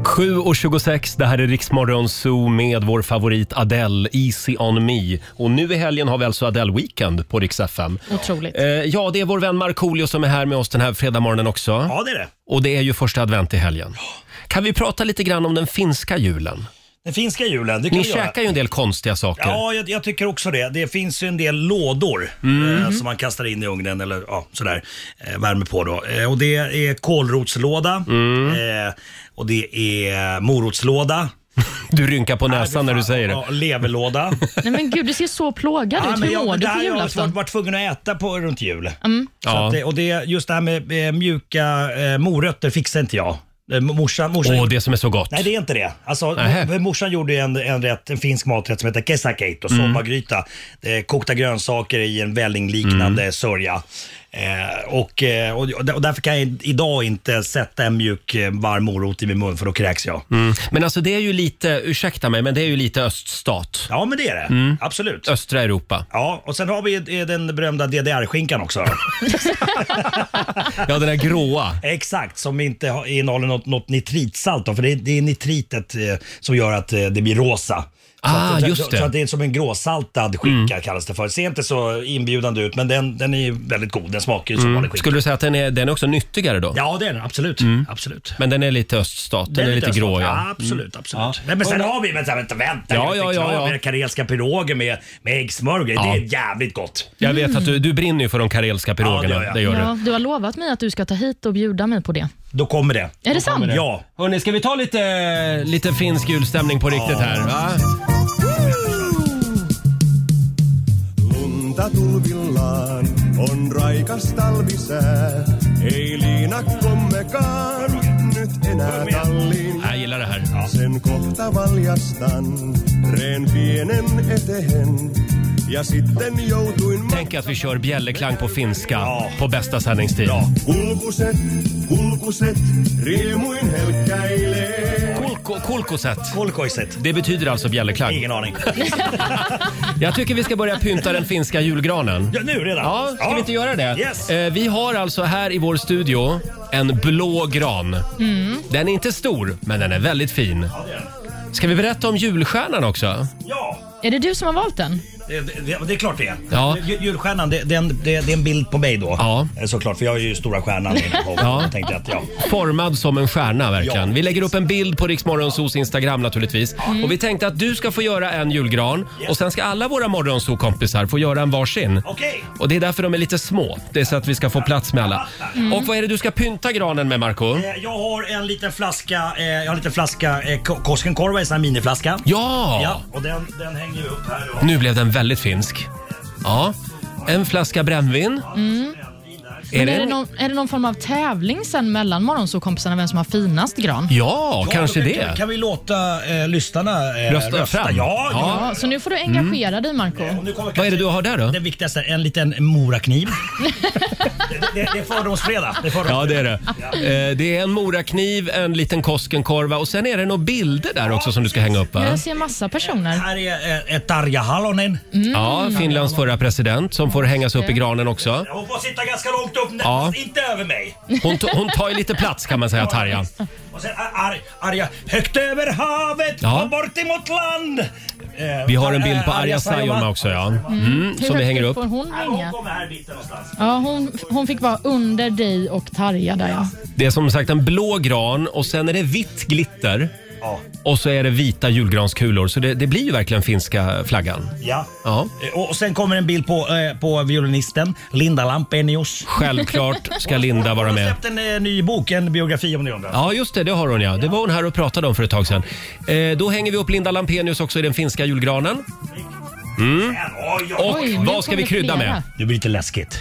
Speaker 1: 7.26, det här är Riksmorgon Zoo med vår favorit Adele, Easy on me. Och nu i helgen har vi alltså Adele-weekend på Rix FM.
Speaker 2: Otroligt.
Speaker 1: Eh, ja, det är vår vän Markoolio som är här med oss den här fredagmorgonen också.
Speaker 8: Ja, det är det.
Speaker 1: Och det är ju första advent i helgen. Kan vi prata lite grann om den finska julen?
Speaker 8: Den finska julen, det kan
Speaker 1: Ni
Speaker 8: vi göra.
Speaker 1: käkar ju en del konstiga saker.
Speaker 8: Ja, jag, jag tycker också det. Det finns ju en del lådor
Speaker 1: Mm.
Speaker 8: eh, som man kastar in i ugnen eller ja, sådär. Eh, värmer på då. Eh, och det är kålrotslåda
Speaker 1: Mm.
Speaker 8: eh, och det är morotslåda.
Speaker 1: Du rynkar på näsan när du säger det.
Speaker 8: Ja, leverlåda.
Speaker 2: Nej men gud, du ser så plågad
Speaker 8: Ja,
Speaker 2: ut.
Speaker 8: men
Speaker 2: Hur mår
Speaker 8: jag,
Speaker 2: du
Speaker 8: det
Speaker 2: på
Speaker 8: här jag har varit,
Speaker 2: julafton?
Speaker 8: varit tvungen att äta på runt jul. Så
Speaker 1: Ja.
Speaker 8: att det, och det, just det här med eh, mjuka eh, morötter fixar inte jag. Eh, morsan, morsan
Speaker 1: Åh, det som är så gott.
Speaker 8: Nej det är inte det. Alltså,
Speaker 1: Nähä.
Speaker 8: mor- morsan gjorde ju en, en, rätt, en finsk maträtt som heter kesäkeitto,
Speaker 1: Mm.
Speaker 8: sommargryta. Eh, kokta grönsaker i en vällingliknande
Speaker 1: Mm.
Speaker 8: sörja. Eh, och, eh, och, och därför kan jag idag inte sätta en mjuk eh, varm morot i min mun för då kräks jag.
Speaker 1: Mm. Men alltså det är ju lite, ursäkta mig, men det är ju lite öststat.
Speaker 8: Ja men det är det,
Speaker 1: Mm.
Speaker 8: absolut.
Speaker 1: Östra Europa.
Speaker 8: Ja, och sen har vi eh, den berömda DDR-skinkan också.
Speaker 1: Ja, den där gråa.
Speaker 8: Exakt, som inte har- innehåller något, något nitritsalt. Då, för det är, det är nitritet eh, som gör att eh, det blir rosa. Så
Speaker 1: Ah,
Speaker 8: att,
Speaker 1: just
Speaker 8: så,
Speaker 1: det. Mm.
Speaker 8: Så att det är som en gråsaltad skinka kallas det för. Ser inte så inbjudande ut, men den, den är ju väldigt god. Den smakar ju som vanlig
Speaker 1: Mm.
Speaker 8: skinka.
Speaker 1: Skulle du säga att den är, den är också nyttigare då?
Speaker 8: Ja, det är den. Absolut. absolut.
Speaker 1: Men den är lite öststat, den, är lite
Speaker 8: öststat. Ah,
Speaker 1: grå ja.
Speaker 8: ja. Absolut, absolut. Nej, men sen har vi, vänta, vänta, vänta.
Speaker 1: Ja,
Speaker 8: Jag är
Speaker 1: ja,
Speaker 8: klar
Speaker 1: ja, ja.
Speaker 8: med den karelska piroger med, med äggsmörgås.
Speaker 1: Ja.
Speaker 8: Det är jävligt gott.
Speaker 1: Jag vet att du, du brinner ju för de karelska pirogerna.
Speaker 8: mm. Ja, det gör jag.
Speaker 1: det gör du.
Speaker 2: Ja, du har lovat mig att du ska ta hit och bjuda mig på det.
Speaker 8: Då kommer det.
Speaker 2: Är det sant?
Speaker 8: Ja.
Speaker 1: Hörni, ska vi ta lite, lite finsk julstämning på riktigt här? Va?
Speaker 5: Lunta tulvillaan on raikas talvisää. Ei liinakkommekaan nyt enää talliin.
Speaker 1: Jag gillar det här.
Speaker 5: Sen kohta valjastan reen pienen eteen. Ja sitten joutuin ma-
Speaker 1: Tänk att vi kör bjällerklang på finska
Speaker 8: Ja.
Speaker 1: på bästa sändningstid.
Speaker 8: Bra.
Speaker 5: Kulkuset, kulkuset, riemuin helkkäilee.
Speaker 1: Kulko, kulkoset.
Speaker 8: Kolkoiset.
Speaker 1: Det betyder alltså bjällerklang.
Speaker 8: Ingen aning.
Speaker 1: Jag tycker vi ska börja pynta den finska julgranen.
Speaker 8: Ja, nu redan?
Speaker 1: Ja, ska vi inte göra det?
Speaker 8: Yes.
Speaker 1: Eh, vi har alltså här i vår studio en blå gran. Den är inte stor, men den är väldigt fin. Ska vi berätta om julstjärnan också?
Speaker 8: Ja,
Speaker 2: Är det du som har valt den?
Speaker 8: det, det, det är klart det är.
Speaker 1: Ja.
Speaker 8: Ju- Julstjärnan, det, det, är en- det, det är en bild på mig då.
Speaker 1: Ja.
Speaker 8: Eh, Såklart, för jag är ju stora stjärnan i den här showen.
Speaker 1: Ja.
Speaker 8: Jag tänkte att, ja.
Speaker 1: Formad som en stjärna verkligen.
Speaker 8: Ja. Mm.
Speaker 1: Vi lägger upp en bild på Riksmorgonsos Instagram naturligtvis. Och vi tänkte att du ska få göra en julgran och sen ska alla våra morgonsokompisar få göra en varsin.
Speaker 8: Okej.
Speaker 1: Och det är därför de är lite små. Det är så att vi ska få plats med alla.
Speaker 2: Mm.
Speaker 1: Och vad är det du ska pynta granen med Marco?
Speaker 8: Eh, Jag har en liten flaska, eh, jag har en liten flaska eh, Ko- Koskenkorva, en sån här miniflaska.
Speaker 1: Ja!
Speaker 8: Ja, och den, den hänger ju upp här. Då.
Speaker 1: Nu blev den väldigt finsk. Ja. En flaska brännvin. Är
Speaker 2: Mm. Men är, det
Speaker 1: det?
Speaker 2: någon, är det någon form av tävling sen mellan morgonsåkompisarna vem som har finast gran?
Speaker 1: Ja,
Speaker 8: Ja,
Speaker 1: kanske
Speaker 8: då kan-
Speaker 1: det.
Speaker 8: Kan vi låta eh, lyssnarna eh,
Speaker 1: Rösta fram.
Speaker 8: Ja, ja.
Speaker 2: Ja, så nu får du engagera dig Marco.
Speaker 8: Och nu kommer
Speaker 1: Vad är det du har där då?
Speaker 8: Den viktigaste, en liten morakniv. det, det, det är fördomsfredag. Det är
Speaker 1: Ja,
Speaker 8: fördomsfredag.
Speaker 1: det är det. Eh, Det är en morakniv, en liten Koskenkorva och sen är det några bilder där också som du ska hänga upp va?
Speaker 2: Jag ser massa personer.
Speaker 8: Här är eh, ett Tarja Halonen.
Speaker 2: Mm.
Speaker 1: Ja, Finlands förra president som får hängas upp i granen också.
Speaker 8: Hon får sitta ganska långt upp, nä-
Speaker 1: Ja.
Speaker 8: inte över mig.
Speaker 1: Hon, t- hon tar ju lite plats kan man säga, Tarja.
Speaker 8: Och sen ar- arga, högt över havet
Speaker 1: Ja.
Speaker 8: och bort emot land. Eh,
Speaker 1: Vi har en bild på Äh, Arja Saijonmaa också ja. Mm, som
Speaker 2: Hur
Speaker 1: vi
Speaker 2: högt
Speaker 1: hänger
Speaker 2: upp
Speaker 1: upp.
Speaker 2: får hon ringa?
Speaker 8: kommer här i mitten någonstans.
Speaker 2: Ja, hon, hon fick vara under dig och Tarja där ja.
Speaker 1: Det är som sagt en blå gran och sen är det vitt glitter.
Speaker 8: Ja.
Speaker 1: Och så är det vita julgranskulor. Så det, det blir ju verkligen finska flaggan.
Speaker 8: Ja.
Speaker 1: Ja.
Speaker 8: Eh, Och och sen kommer en bild på, eh, på violinisten Linda Lampenius.
Speaker 1: Självklart ska Linda vara
Speaker 8: Hon har
Speaker 1: med.
Speaker 8: släppt en eh, ny bok, en biografi om Leonard.
Speaker 1: Ja, just det. Det har hon ja. Det var hon här och pratade om för ett tag sedan. Eh, då hänger vi upp Linda Lampenius också i den finska julgranen.
Speaker 8: Här, oj, oj,
Speaker 1: Mm. Och Mm.
Speaker 2: Oj, nu
Speaker 1: vad ska vi
Speaker 2: kommer
Speaker 1: krydda
Speaker 2: flera.
Speaker 1: med?
Speaker 8: Nu blir det lite läskigt.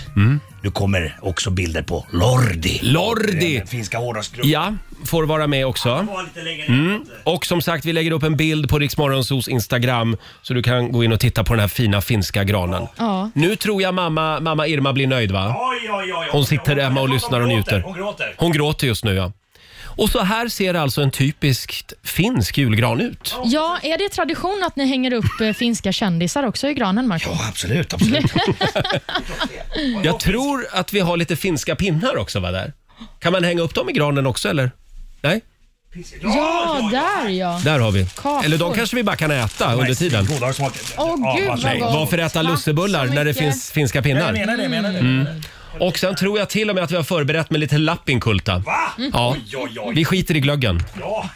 Speaker 8: Nu kommer också bilder på Lordi.
Speaker 1: Lordi!
Speaker 8: Den finska hårdrocksgruppen.
Speaker 1: Ja, Mm. får vara med också.
Speaker 8: Var lite längre ner.
Speaker 1: Och som sagt, vi lägger upp en bild på Riksmorgonsos Instagram så du kan gå in och titta på den här fina finska granen.
Speaker 2: Ja.
Speaker 1: Nu tror jag mamma, mamma Irma blir nöjd va?
Speaker 8: Oj, oj, oj, oj.
Speaker 1: Hon sitter hemma och lyssnar och
Speaker 8: Hon
Speaker 1: njuter.
Speaker 8: gråter, Hon gråter.
Speaker 1: Hon gråter just nu ja. Och så här ser alltså en typiskt finsk julgran ut.
Speaker 2: Ja, är det tradition att ni hänger upp eh, finska kändisar också i granen, Marco?
Speaker 8: Ja, absolut, absolut.
Speaker 1: Jag tror att vi har lite finska pinnar också va där? Kan man hänga upp dem i granen också eller? Nej,
Speaker 2: Ja, där ja.
Speaker 1: där har vi.
Speaker 2: Kakor.
Speaker 1: Eller de kanske vi bara kan äta under tiden.
Speaker 8: Godare smak.
Speaker 2: Åh gud
Speaker 8: varsågod.
Speaker 2: vad
Speaker 1: Nej,
Speaker 2: gott.
Speaker 1: varför äta
Speaker 2: Tack
Speaker 1: lussebullar
Speaker 2: så
Speaker 1: när det
Speaker 2: mycket.
Speaker 1: finns finska
Speaker 8: Jag
Speaker 1: pinnar?
Speaker 8: menar det, jag menar det.
Speaker 1: Mm. Och sen tror jag till och med att vi har förberett med lite lappinkulta.
Speaker 8: Va?
Speaker 1: Ja,
Speaker 8: Oj, oj, oj.
Speaker 1: vi skiter i glöggen.
Speaker 8: Ja.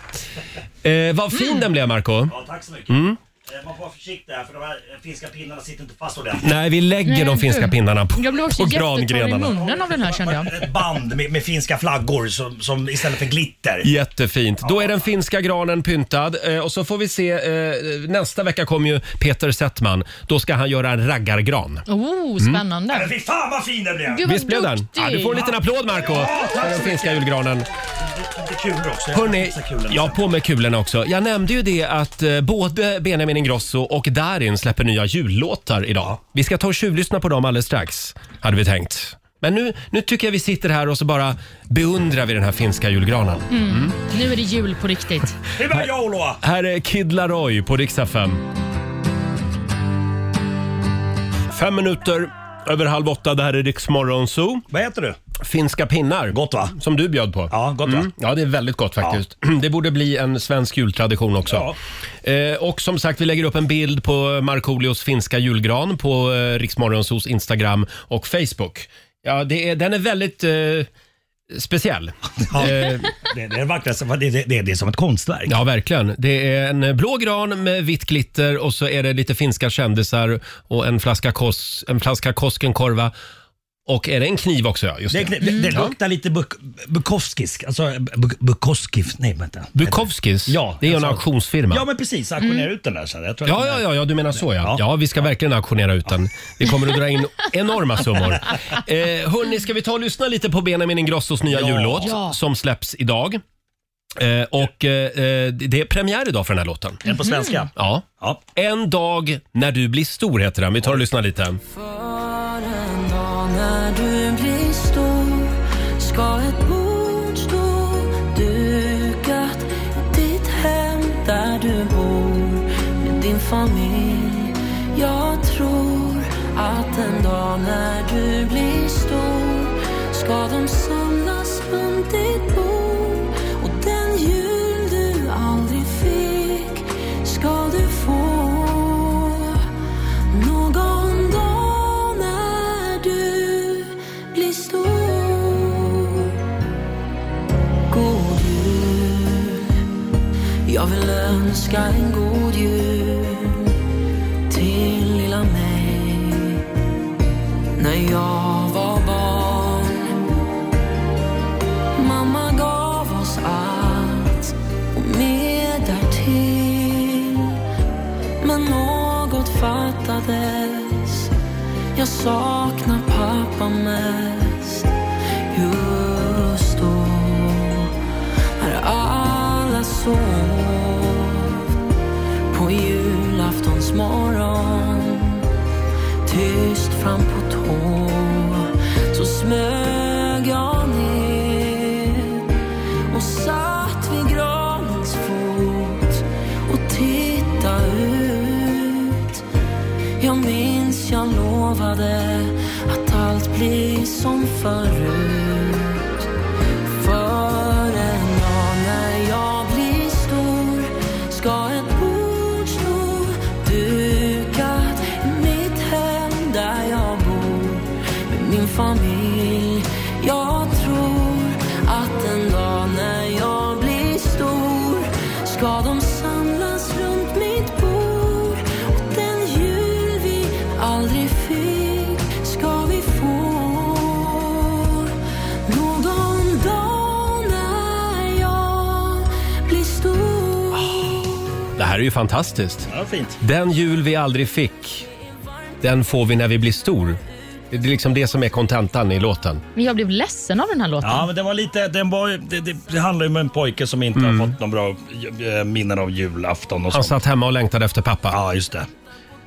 Speaker 1: Eh, vad fin
Speaker 2: Mm.
Speaker 1: den blev Marco
Speaker 8: Ja, tack så mycket.
Speaker 1: Mm.
Speaker 8: Eh, Man får vara försiktig här för de här eh, finska pinnarna sitter inte fast ordentligt.
Speaker 1: Nej, vi lägger
Speaker 2: Nej,
Speaker 1: de finska
Speaker 2: du.
Speaker 1: pinnarna på,
Speaker 2: Jag blev också
Speaker 1: på
Speaker 2: jättetorr i
Speaker 1: grangrenarna.
Speaker 2: munnen av den här kände jag.
Speaker 8: Ett band med, med finska flaggor som, som istället för glitter.
Speaker 1: Jättefint. Då är den finska granen pyntad eh, och så får vi se. Eh, nästa vecka kommer ju Peter Settman. Då ska han göra en raggargran.
Speaker 2: Oh, spännande.
Speaker 8: Men fy fan vad fin den blev!
Speaker 2: Gud vad
Speaker 1: Visst blev den?
Speaker 2: duktig.
Speaker 1: Ja, du får en liten applåd Marco för den finska julgranen.
Speaker 8: Lite kulor också.
Speaker 1: Hörrni, ja
Speaker 8: ja.
Speaker 1: på med kulorna också. Jag nämnde ju det att eh, både Benjamin Ingrosso och Darin släpper nya jullåtar idag. Vi ska ta och tjuvlyssna på dem alldeles strax, hade vi tänkt. Men nu, nu tycker jag vi sitter här och så bara beundrar vi den här finska julgranen.
Speaker 2: Nu är det jul på riktigt.
Speaker 8: Hyvää joulua!
Speaker 1: Här är Kid Laroi på Riksa 5. Fem minuter över halv åtta. Det här är Rix Morgon Zoo.
Speaker 8: Vad heter du?
Speaker 1: Finska pinnar.
Speaker 8: Gott, va?
Speaker 1: Som du bjöd på. Mm.
Speaker 8: Ja, gott, va?
Speaker 1: Ja, det är väldigt gott faktiskt. Det borde bli en svensk jultradition också. Eh, och som sagt, vi lägger upp en bild på Markoolios finska julgran på eh, Riksmorgonsos Instagram och Facebook. Ja, det är, den är väldigt eh, speciell. Eh,
Speaker 8: Det, det är det vackraste, det, det, det, det är som ett konstverk.
Speaker 1: Ja, verkligen. Det är en blå gran med vitt glitter och så är det lite finska kändisar och en flaska, kos, en flaska Koskenkorva. Och är det en kniv också? Ja, just
Speaker 8: Det,
Speaker 1: det.
Speaker 8: det, det,
Speaker 1: Mm.
Speaker 8: det luktar lite Buk, Bukowskisk, alltså Buk, Bukowskif, nej vänta.
Speaker 1: Bukowskis,
Speaker 8: Ja,
Speaker 1: det är ju en
Speaker 8: alltså-
Speaker 1: auktionsfirma.
Speaker 8: Ja men precis, auktionera ut den där sen. Jag tror att
Speaker 1: Mm. Ja,
Speaker 8: den
Speaker 1: ja,
Speaker 8: är-
Speaker 1: ja, ja, du menar så ja.
Speaker 8: Ja.
Speaker 1: Ja, vi ska verkligen auktionera ut den. Vi kommer att dra in enorma summor. Eh, hörni, ska vi ta och lyssna lite på Benjamin Ingrossos nya
Speaker 8: Ja.
Speaker 1: jullåt
Speaker 2: Ja.
Speaker 1: som släpps idag? Eh, och eh, det är premiär idag för den här låten.
Speaker 8: Är det på svenska?
Speaker 1: Ja.
Speaker 8: Ja.
Speaker 1: En dag när du blir stor heter den. Vi tar och lyssnar lite.
Speaker 9: För en dag när du blir stor ska ett bord stå dukat i ditt hem där du bor med din familj. Jag tror att en dag när du blir stor ska de samlas runt ditt bord och den jul du aldrig fick ska du få någon dag när du blir stor God jul Jag vill önska en god jul till lilla mig När jag var barn Mamma gav oss allt och mer därtill men något fattades Jag saknar pappa mest Just då När alla sov På julaftonsmorgon Tyst fram på tå Så smög jag ner och satt vid granens fot och titta ut. Jag minns jag lovade att allt blir som förut. För en dag när jag blir stor ska ett bord stå
Speaker 1: här är ju fantastiskt.
Speaker 10: Ja, fint.
Speaker 1: Den jul vi aldrig fick, den får vi när vi blir stor. Det är liksom det som är kontentan i låten.
Speaker 2: Men jag blev ledsen av den här låten.
Speaker 8: Ja, men det var lite, den var, det, det, det handlar ju om en pojke som inte har fått någon bra eh, minnen av julafton och
Speaker 1: Mm. Han
Speaker 8: sånt.
Speaker 1: satt hemma och längtade efter pappa.
Speaker 8: Ja, just det.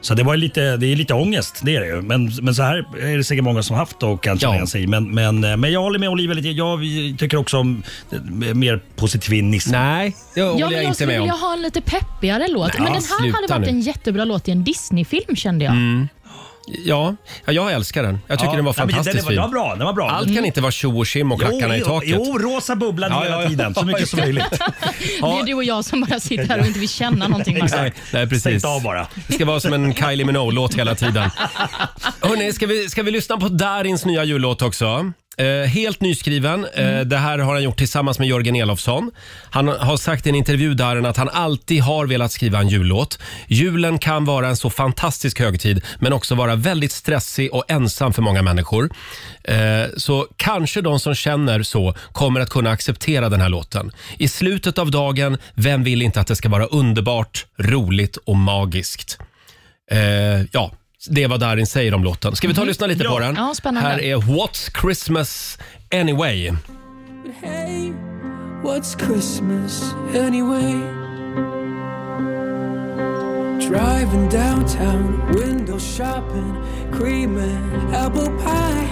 Speaker 8: Så det var ju lite, det är lite ångest, det är det ju. Men, men så här är det säkert många som haft och kan känna
Speaker 1: Ja.
Speaker 8: igen sig i. men, men, eh, men jag håller med Olivia lite. Jag vi tycker också om eh, mer positivism.
Speaker 1: Nej, det
Speaker 2: Ja,
Speaker 1: håller
Speaker 2: men
Speaker 1: jag
Speaker 2: jag
Speaker 1: inte
Speaker 2: skulle
Speaker 1: med om.
Speaker 2: vilja ha en lite peppigare låt. men den här
Speaker 1: sluta
Speaker 2: hade varit
Speaker 1: nu. Mm.
Speaker 2: en jättebra låt i en Disney-film kände jag.
Speaker 1: Ja, ja, jag älskar den. Jag tycker den var
Speaker 8: Nej, men
Speaker 1: fantastiskt
Speaker 8: Den,
Speaker 1: fin.
Speaker 8: den var bra. Den var bra.
Speaker 1: Allt kan inte vara tjo och tjim och klackarna i
Speaker 8: jo,
Speaker 1: taket.
Speaker 8: Jo, rosa bubblan
Speaker 1: Ja,
Speaker 8: hela
Speaker 1: ja, ja.
Speaker 8: tiden. Så mycket som möjligt.
Speaker 2: Det är du och jag som bara sitter här och inte vill känna någonting. Max.
Speaker 1: Nej, nej, precis.
Speaker 8: Stängt av bara.
Speaker 1: Det ska vara som en Kylie Minogue-låt hela tiden. Hörrni, ska vi, ska vi lyssna på Darins nya jullåt också? Eh, helt nyskriven. Eh,
Speaker 8: Mm.
Speaker 1: Det här har han gjort tillsammans med Jörgen Elofsson. Han har sagt i en intervju Darin att han alltid har velat skriva en jullåt. Julen kan vara en så fantastisk högtid men också vara väldigt stressig och ensam för många människor. Eh, Så kanske de som känner så kommer att kunna acceptera den här låten. I slutet av dagen, vem vill inte att det ska vara underbart, roligt och magiskt? Eh, ja, det är vad Darin säger om låten. Ska vi ta och lyssna lite på den?
Speaker 2: Ja, spännande.
Speaker 1: Här är What's Christmas Anyway.
Speaker 9: Hey, what's Christmas anyway? Driving downtown, window shopping, cream and apple pie.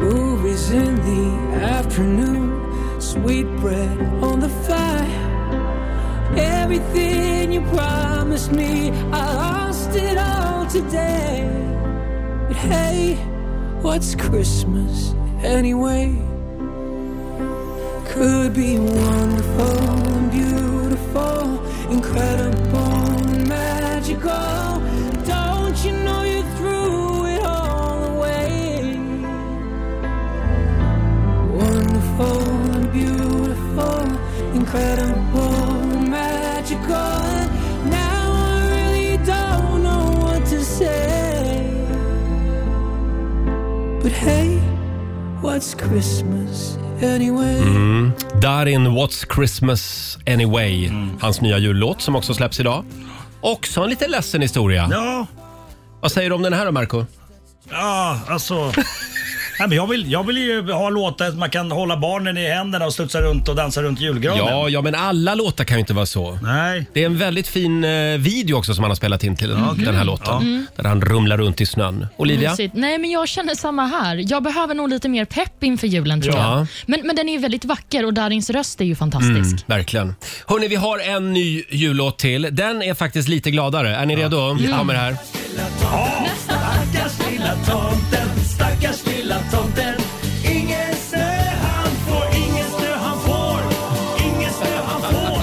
Speaker 9: Movies in the afternoon, sweet bread on the fire. Everything you promised me, I lost it all today. But hey, what's Christmas anyway? could be wonderful and beautiful, incredible and magical. Don't you know you threw it all away? Wonderful and beautiful, incredible and magical. Now I really don't know what to say. But hey, what's Christmas anyway?
Speaker 1: Darin What's Christmas Anyway. Hans nya jullåt som också släpps idag. Också en lite ledsen historia.
Speaker 8: Ja,
Speaker 1: Vad säger du om den här då, Marco?
Speaker 8: ja alltså. Nej, men jag, vill, jag vill ju ha låtar som man kan hålla barnen i händerna och studsa runt och dansa runt julgranen.
Speaker 1: Ja, ja, men alla låtar kan ju inte vara så.
Speaker 8: Nej.
Speaker 1: Det är en väldigt fin eh, video också som han har spelat in till den, den här låten. Där han rumlar runt i snön. Olivia?
Speaker 2: Mysigt. Nej, men jag känner samma här. Jag behöver nog lite mer pepp inför julen tror
Speaker 1: Ja. Mm.
Speaker 2: jag. Men, men den är ju väldigt vacker och Darins röst är ju fantastisk.
Speaker 1: Verkligen. Hörni, vi har en ny jullåt till. Den är faktiskt lite gladare. Är ni redo? Vi kommer här.
Speaker 8: Stackars lilla tomten, stackars lilla tomten Ingen snö han får, ingen snö han får Ingen snö han får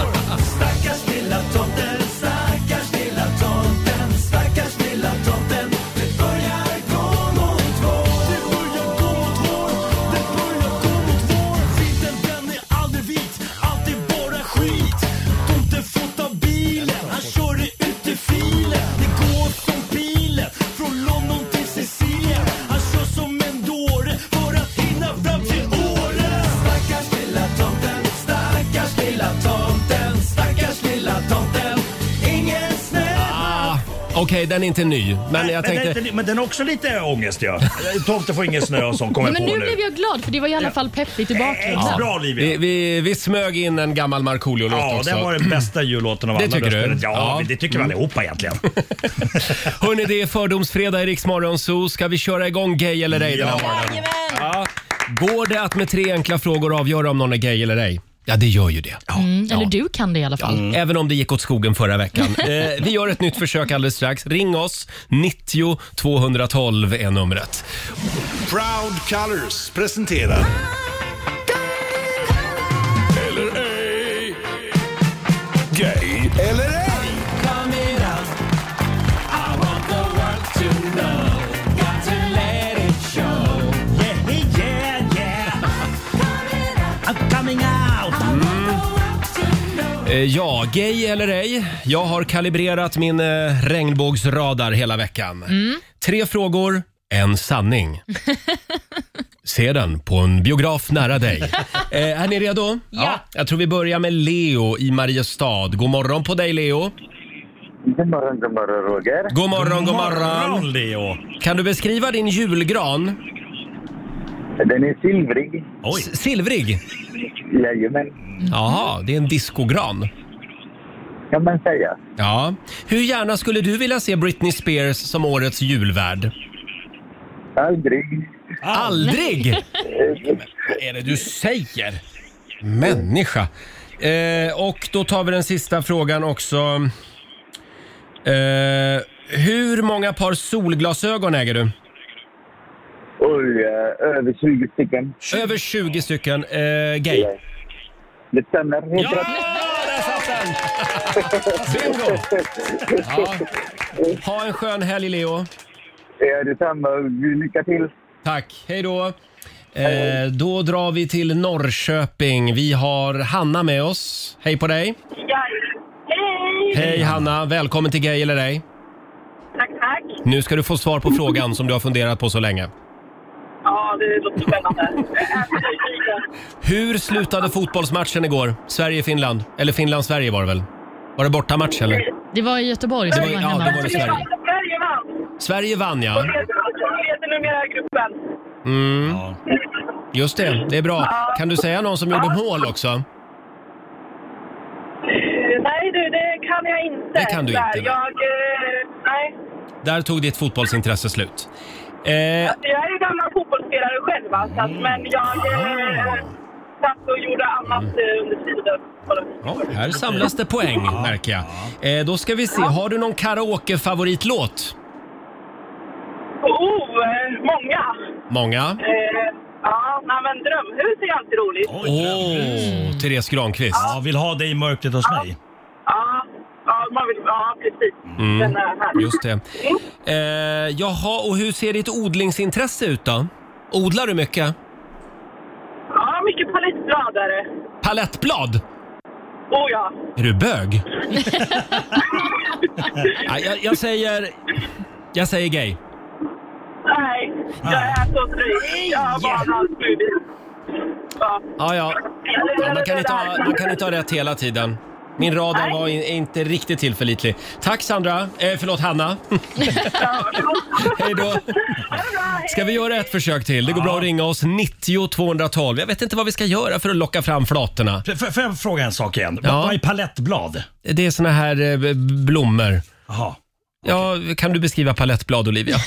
Speaker 8: Stackars lilla tomten, stackars lilla tomten Stackars lilla tomten Det börjar gå mot vår Det börjar gå mot vår Det börjar gå mot vår Skiten den är aldrig vit, allt är bara skit Tomten får ta bilen, han kör det ut i filen Det går som pilen från London till Sicilien Han kör som en dåre för att hinna fram till Åre Stackars lilla tomten, stackars lilla tomten Stackars lilla tomten, ingen snö
Speaker 1: Ah, Okej, den är inte ny. Men jag
Speaker 8: men,
Speaker 1: tänkte...
Speaker 8: den, men den är också lite ångest ja. Tomten får ingen snö och sånt kommer
Speaker 2: Ja,
Speaker 8: jag
Speaker 2: men
Speaker 8: på
Speaker 2: nu
Speaker 8: nu.
Speaker 2: blev jag glad för det var i alla fall peppigt i
Speaker 8: Extra
Speaker 2: bakgrunden.
Speaker 8: bra
Speaker 1: Vi,
Speaker 8: Olivia.
Speaker 1: vi, vi smög in en gammal Markoolio-låt
Speaker 8: Ja,
Speaker 1: också.
Speaker 8: det var den bästa jullåten av
Speaker 1: Det
Speaker 8: alla.
Speaker 1: tycker du?
Speaker 8: röstade. Ja,
Speaker 1: Ja. Mm.
Speaker 8: det tycker vi allihopa egentligen.
Speaker 1: Hörni, det är fördomsfredag i Rix Morgon Zoo. Ska vi köra igång Gay eller ej den här morgonen? Ja. Går det att med tre enkla frågor avgöra om någon är gay eller ej? Ja, det gör ju det.
Speaker 2: Mm, eller du kan det i alla fall.
Speaker 1: Även om det gick åt skogen förra veckan. Eh, vi gör ett nytt försök alldeles strax. Ring oss. 90 212 är numret.
Speaker 3: Proud Colors presenterar... Eller ej. Gay eller ej.
Speaker 8: Yeah, yeah, yeah. I'm coming out.
Speaker 1: Eh, ja, gay eller ej. Jag har kalibrerat min eh, regnbågsradar hela veckan. Tre frågor, en sanning. Se den på en biograf nära dig. eh, är ni redo?
Speaker 9: Ja.
Speaker 1: Jag tror vi börjar med Leo i Mariestad. God morgon på dig Leo.
Speaker 11: God morgon, god morgon Roger.
Speaker 1: God morgon, god morgon.
Speaker 11: Leo.
Speaker 1: Kan du beskriva din julgran?
Speaker 11: Den är silvrig.
Speaker 1: Oj. Silvrig?
Speaker 11: Jajamän.
Speaker 1: Jaha, det är en diskogran.
Speaker 11: Kan man säga.
Speaker 1: Ja. Hur gärna skulle du vilja se Britney Spears som årets julvärd?
Speaker 11: Aldrig.
Speaker 1: Aldrig? Men vad är det du säger? Människa. Eh, och då tar vi den sista frågan också. Eh, hur många par solglasögon äger du?
Speaker 11: Oj, eh, över 20 stycken.
Speaker 1: Över 20 stycken. Eh, gay.
Speaker 11: Det stämmer. Helt
Speaker 1: Ja,
Speaker 11: där
Speaker 1: satt den! Bingo! Ja. Ha en skön helg Leo.
Speaker 11: Ja, detsamma. Lycka till.
Speaker 1: Tack, hej då. Eh, då drar vi till Norrköping. Vi har Hanna med oss. Hej på dig.
Speaker 9: Ja. Hej!
Speaker 1: Hej Hanna, välkommen till Gay eller ej.
Speaker 9: Tack, tack.
Speaker 1: Nu ska du få svar på frågan som du har funderat på så länge.
Speaker 9: Ja, det låter spännande.
Speaker 1: Hur slutade fotbollsmatchen igår? Sverige-Finland? Eller Finland-Sverige var det väl? Var det bortamatch eller?
Speaker 2: Det var i Göteborg
Speaker 1: Det
Speaker 2: som
Speaker 1: var-
Speaker 2: var,
Speaker 1: ja,
Speaker 2: hemma.
Speaker 1: det var i Sverige.
Speaker 9: Sverige vann.
Speaker 1: Sverige vann ja.
Speaker 9: Vi leder numera gruppen.
Speaker 1: Mm. Just det, det är bra. Kan du säga någon som gjorde mål också?
Speaker 9: Eh, Nej du, det kan jag inte.
Speaker 1: Det kan du
Speaker 9: Där,
Speaker 1: inte, nej.
Speaker 9: Jag, eh, nej.
Speaker 1: Där tog ditt fotbollsintresse slut. Eh,
Speaker 9: Alltså, jag är ju gammal fotbollsspelare själv, va,
Speaker 1: Mm.
Speaker 9: så att, men jag eh, satt och gjorde annat eh, under tiden.
Speaker 1: Mm. Ja, här samlas det poäng märker jag. Eh, då ska vi se, har du någon karaoke-favoritlåt?
Speaker 9: Oh, eh, många.
Speaker 1: Många.
Speaker 9: Eh, ja, nej, men drömhus är ju alltid roligt.
Speaker 1: Åh, Therese Granqvist.
Speaker 8: Ja, vill ha dig i mörkret hos mig.
Speaker 9: Ja, ja, man vill, ja precis.
Speaker 1: Mm,
Speaker 9: Den är här.
Speaker 1: Just det. Eh, jaha, och hur ser ditt odlingsintresse ut då? Odlar du mycket?
Speaker 9: Ja, mycket palettbladare.
Speaker 1: Palettblad?
Speaker 9: Oh ja.
Speaker 1: Är du bög? Nej, jag, jag säger... Jag säger gay.
Speaker 9: Nej, jag
Speaker 1: Ah.
Speaker 9: är så trött. Jag har bara allt möjligt. Ja.
Speaker 1: Ja, ja. ja man, kan inte ha, man kan inte ha rätt hela tiden. Min radar var in, inte riktigt tillförlitlig. Tack Sandra, eh, förlåt Hanna. Hej då. Ska vi göra ett försök till? Det går bra att ringa oss 90 212. Jag vet inte vad vi ska göra för att locka fram flatorna.
Speaker 8: F- f- Får jag fråga en sak igen?
Speaker 1: Ja.
Speaker 8: Vad- Vad är palettblad?
Speaker 1: Det är såna här eh, b- blommor.
Speaker 8: Jaha.
Speaker 1: Ja, kan du beskriva palettblad Olivia?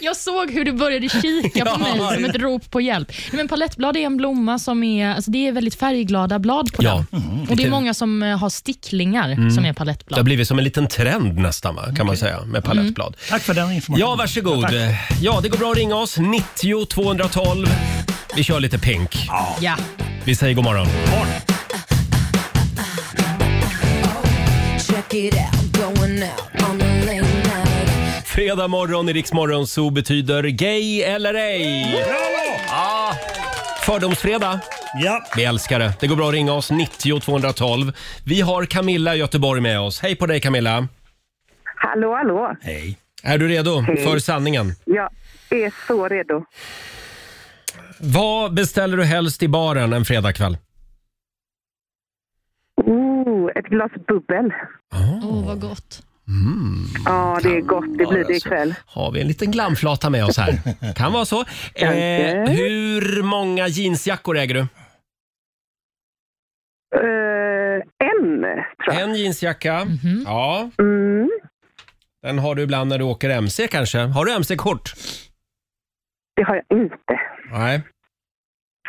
Speaker 2: Jag såg hur du började kika på mig
Speaker 1: Ja.
Speaker 2: som ett rop på hjälp. Nej, men palettblad är en blomma som är, alltså det är väldigt färgglada blad på
Speaker 1: Ja.
Speaker 2: den.
Speaker 1: Mm.
Speaker 2: Och Det är
Speaker 1: Vilken-
Speaker 2: många som eh, har sticklingar
Speaker 1: Mm.
Speaker 2: som är
Speaker 1: Det har
Speaker 2: palettblad.
Speaker 1: blivit som en liten trend nästan va, kan man säga, med palettblad.
Speaker 8: Tack för den informationen.
Speaker 1: Mm. Ja, varsågod. Ja, det går bra att ringa oss. 90 212. Vi kör lite Pink.
Speaker 2: Ja.
Speaker 1: Vi säger god morgon.
Speaker 12: Check it out, going out on a late night.
Speaker 1: Fredag morgon i Rix Morgon Zoo betyder gay eller ej. Ja. Fördomsfredag.
Speaker 8: Ja.
Speaker 1: Vi älskar det. Det går bra att ringa oss. 90 212. Vi har Camilla i Göteborg med oss. Hej på dig Camilla.
Speaker 4: Hallå, hallå.
Speaker 1: Hej. Är du redo
Speaker 4: Hej.
Speaker 1: för sanningen?
Speaker 4: Jag är så redo.
Speaker 1: Vad beställer du helst i baren en fredagkväll?
Speaker 4: Oh, ett glas bubbel.
Speaker 1: Åh,
Speaker 2: oh, vad gott.
Speaker 4: Ja, det är gott. Det
Speaker 1: vara
Speaker 4: blir det
Speaker 1: så.
Speaker 4: ikväll.
Speaker 1: Har vi en liten glamflata med oss här? Kan vara så. Eh,
Speaker 4: Kanske.
Speaker 1: hur många jeansjackor äger du?
Speaker 4: Eh, en.
Speaker 1: En jeansjacka.
Speaker 4: Mhm.
Speaker 1: Ja.
Speaker 4: Mm,
Speaker 1: Den har du ibland när du åker MC kanske. Har du MC-kort?
Speaker 4: Det har jag inte.
Speaker 1: Nej.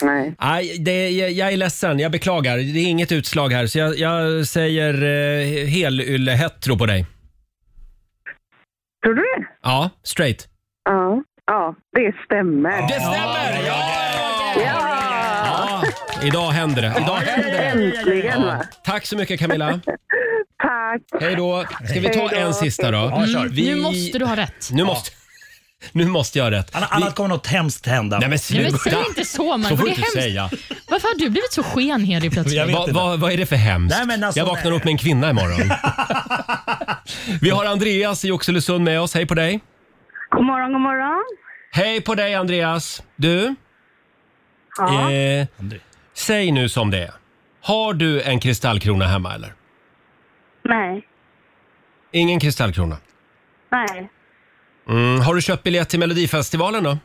Speaker 4: Nej.
Speaker 1: Nej, det, jag, jag är ledsen. Jag beklagar. Det är inget utslag här, så jag, jag säger eh, helylle-hetero på dig.
Speaker 4: Tror du det?
Speaker 1: Ja, straight.
Speaker 4: Ja. Ja, det stämmer.
Speaker 1: Det stämmer! Ja! ja! Idag händer det. Idag händer det.
Speaker 4: Äntligen, va?
Speaker 1: Tack så mycket Camilla.
Speaker 4: Tack.
Speaker 1: Hej då. Ska vi ta
Speaker 4: Hej då.
Speaker 1: en sista då?
Speaker 8: Ja, kör.
Speaker 1: Vi-
Speaker 2: Nu måste du ha rätt.
Speaker 1: Nu måste, nu måste jag ha rätt.
Speaker 8: Annars kommer något hemskt hända.
Speaker 1: Nej men
Speaker 2: Nej, men
Speaker 1: sluta!
Speaker 2: säg inte så, Marco.
Speaker 1: Så får
Speaker 2: Det
Speaker 1: du
Speaker 2: är
Speaker 1: inte
Speaker 2: hemskt.
Speaker 1: säga.
Speaker 2: Varför har du blivit så skenhelig plötsligt?
Speaker 1: Vad vad- vad är det för hemskt?
Speaker 2: Nej, men alltså-
Speaker 1: jag vaknar upp med en kvinna imorgon. Vi har Andreas i Oxelösund med oss. Hej på dig!
Speaker 13: God morgon, god morgon.
Speaker 1: Hej på dig Andreas! Du,
Speaker 9: Ja.
Speaker 1: Eh, säg nu som det är. Har du en kristallkrona hemma eller?
Speaker 4: Nej.
Speaker 1: Ingen kristallkrona.
Speaker 4: Nej.
Speaker 1: Mm, har du köpt biljett till Melodifestivalen då?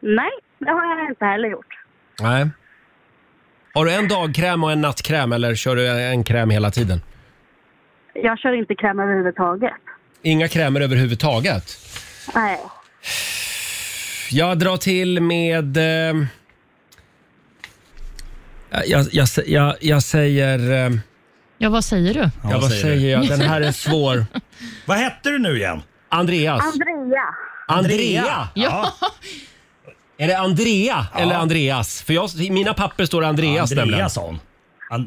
Speaker 4: Nej, det har jag inte heller gjort.
Speaker 1: Nej. Har du en dagkräm och en nattkräm eller kör du en kräm hela tiden?
Speaker 4: Jag kör inte kräm överhuvudtaget.
Speaker 1: Inga krämer överhuvudtaget?
Speaker 4: Nej.
Speaker 1: Jag drar till med... Eh, jag, jag, jag, jag säger... Eh,
Speaker 2: Ja, vad säger du?
Speaker 1: ja, vad säger jag? Den här är svår.
Speaker 8: Vad hette du nu igen?
Speaker 1: Andreas.
Speaker 4: Andrea.
Speaker 1: Andrea?
Speaker 2: Ja.
Speaker 1: Är det Andrea eller Andreas? För jag, i mina papper står Andreas nämligen.
Speaker 8: Andreasson.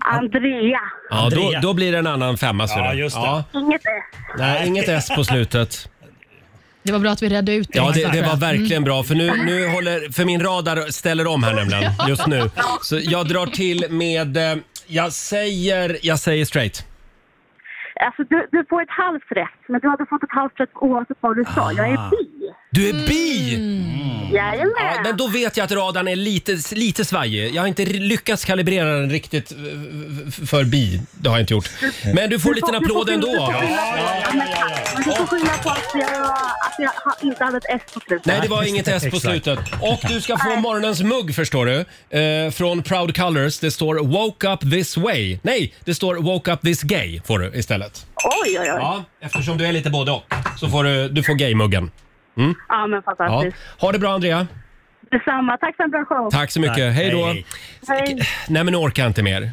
Speaker 4: Andrea.
Speaker 1: Ja, då,
Speaker 8: Andrea.
Speaker 1: då blir det en annan femma. ser
Speaker 8: Ja,
Speaker 1: du.
Speaker 8: just det.
Speaker 1: Ja.
Speaker 4: Inget eh, S.
Speaker 1: Nej, inget S på slutet.
Speaker 2: Det var bra att vi redde ut det.
Speaker 1: Ja, det, det var verkligen bra. För nu, nu håller, för min radar ställer om här nämligen just nu. Så jag drar till med, eh, jag säger, jag säger straight.
Speaker 4: Alltså, du, du får ett halvt rätt, men du hade fått ett halvt rätt oavsett vad du sa. Jag är bi.
Speaker 1: Du är bi!
Speaker 4: Jajamän.
Speaker 1: Ja, men då vet jag att radarn är lite, lite svajig. Jag har inte lyckats kalibrera den riktigt eh, f- för bi. Det har jag inte gjort. Men du får en liten applåd ändå
Speaker 4: Du
Speaker 1: av
Speaker 4: får
Speaker 1: oss.
Speaker 4: skylla- Men tack. Men du får skylla på att jag, att jag ha- inte hade ett S på slutet.
Speaker 1: Nej, det var inget S på
Speaker 8: Exakt.
Speaker 1: slutet. Och du ska få morgonens mugg förstår du. Eh, från Proud Colors. Det står “Woke up this way”. Nej, det står “Woke up this gay” får du istället.
Speaker 4: Oj, oj, oj. Ja,
Speaker 1: Ja, eftersom du är lite både och så får du, du får gaymuggen.
Speaker 4: men
Speaker 1: Ja.
Speaker 4: fantastiskt.
Speaker 1: Ha det bra Andrea.
Speaker 4: Detsamma. Tack för en bra show.
Speaker 1: Tack så mycket. Hej då.
Speaker 8: hej.
Speaker 4: Hej.
Speaker 1: Nej men nu orkar jag inte mer.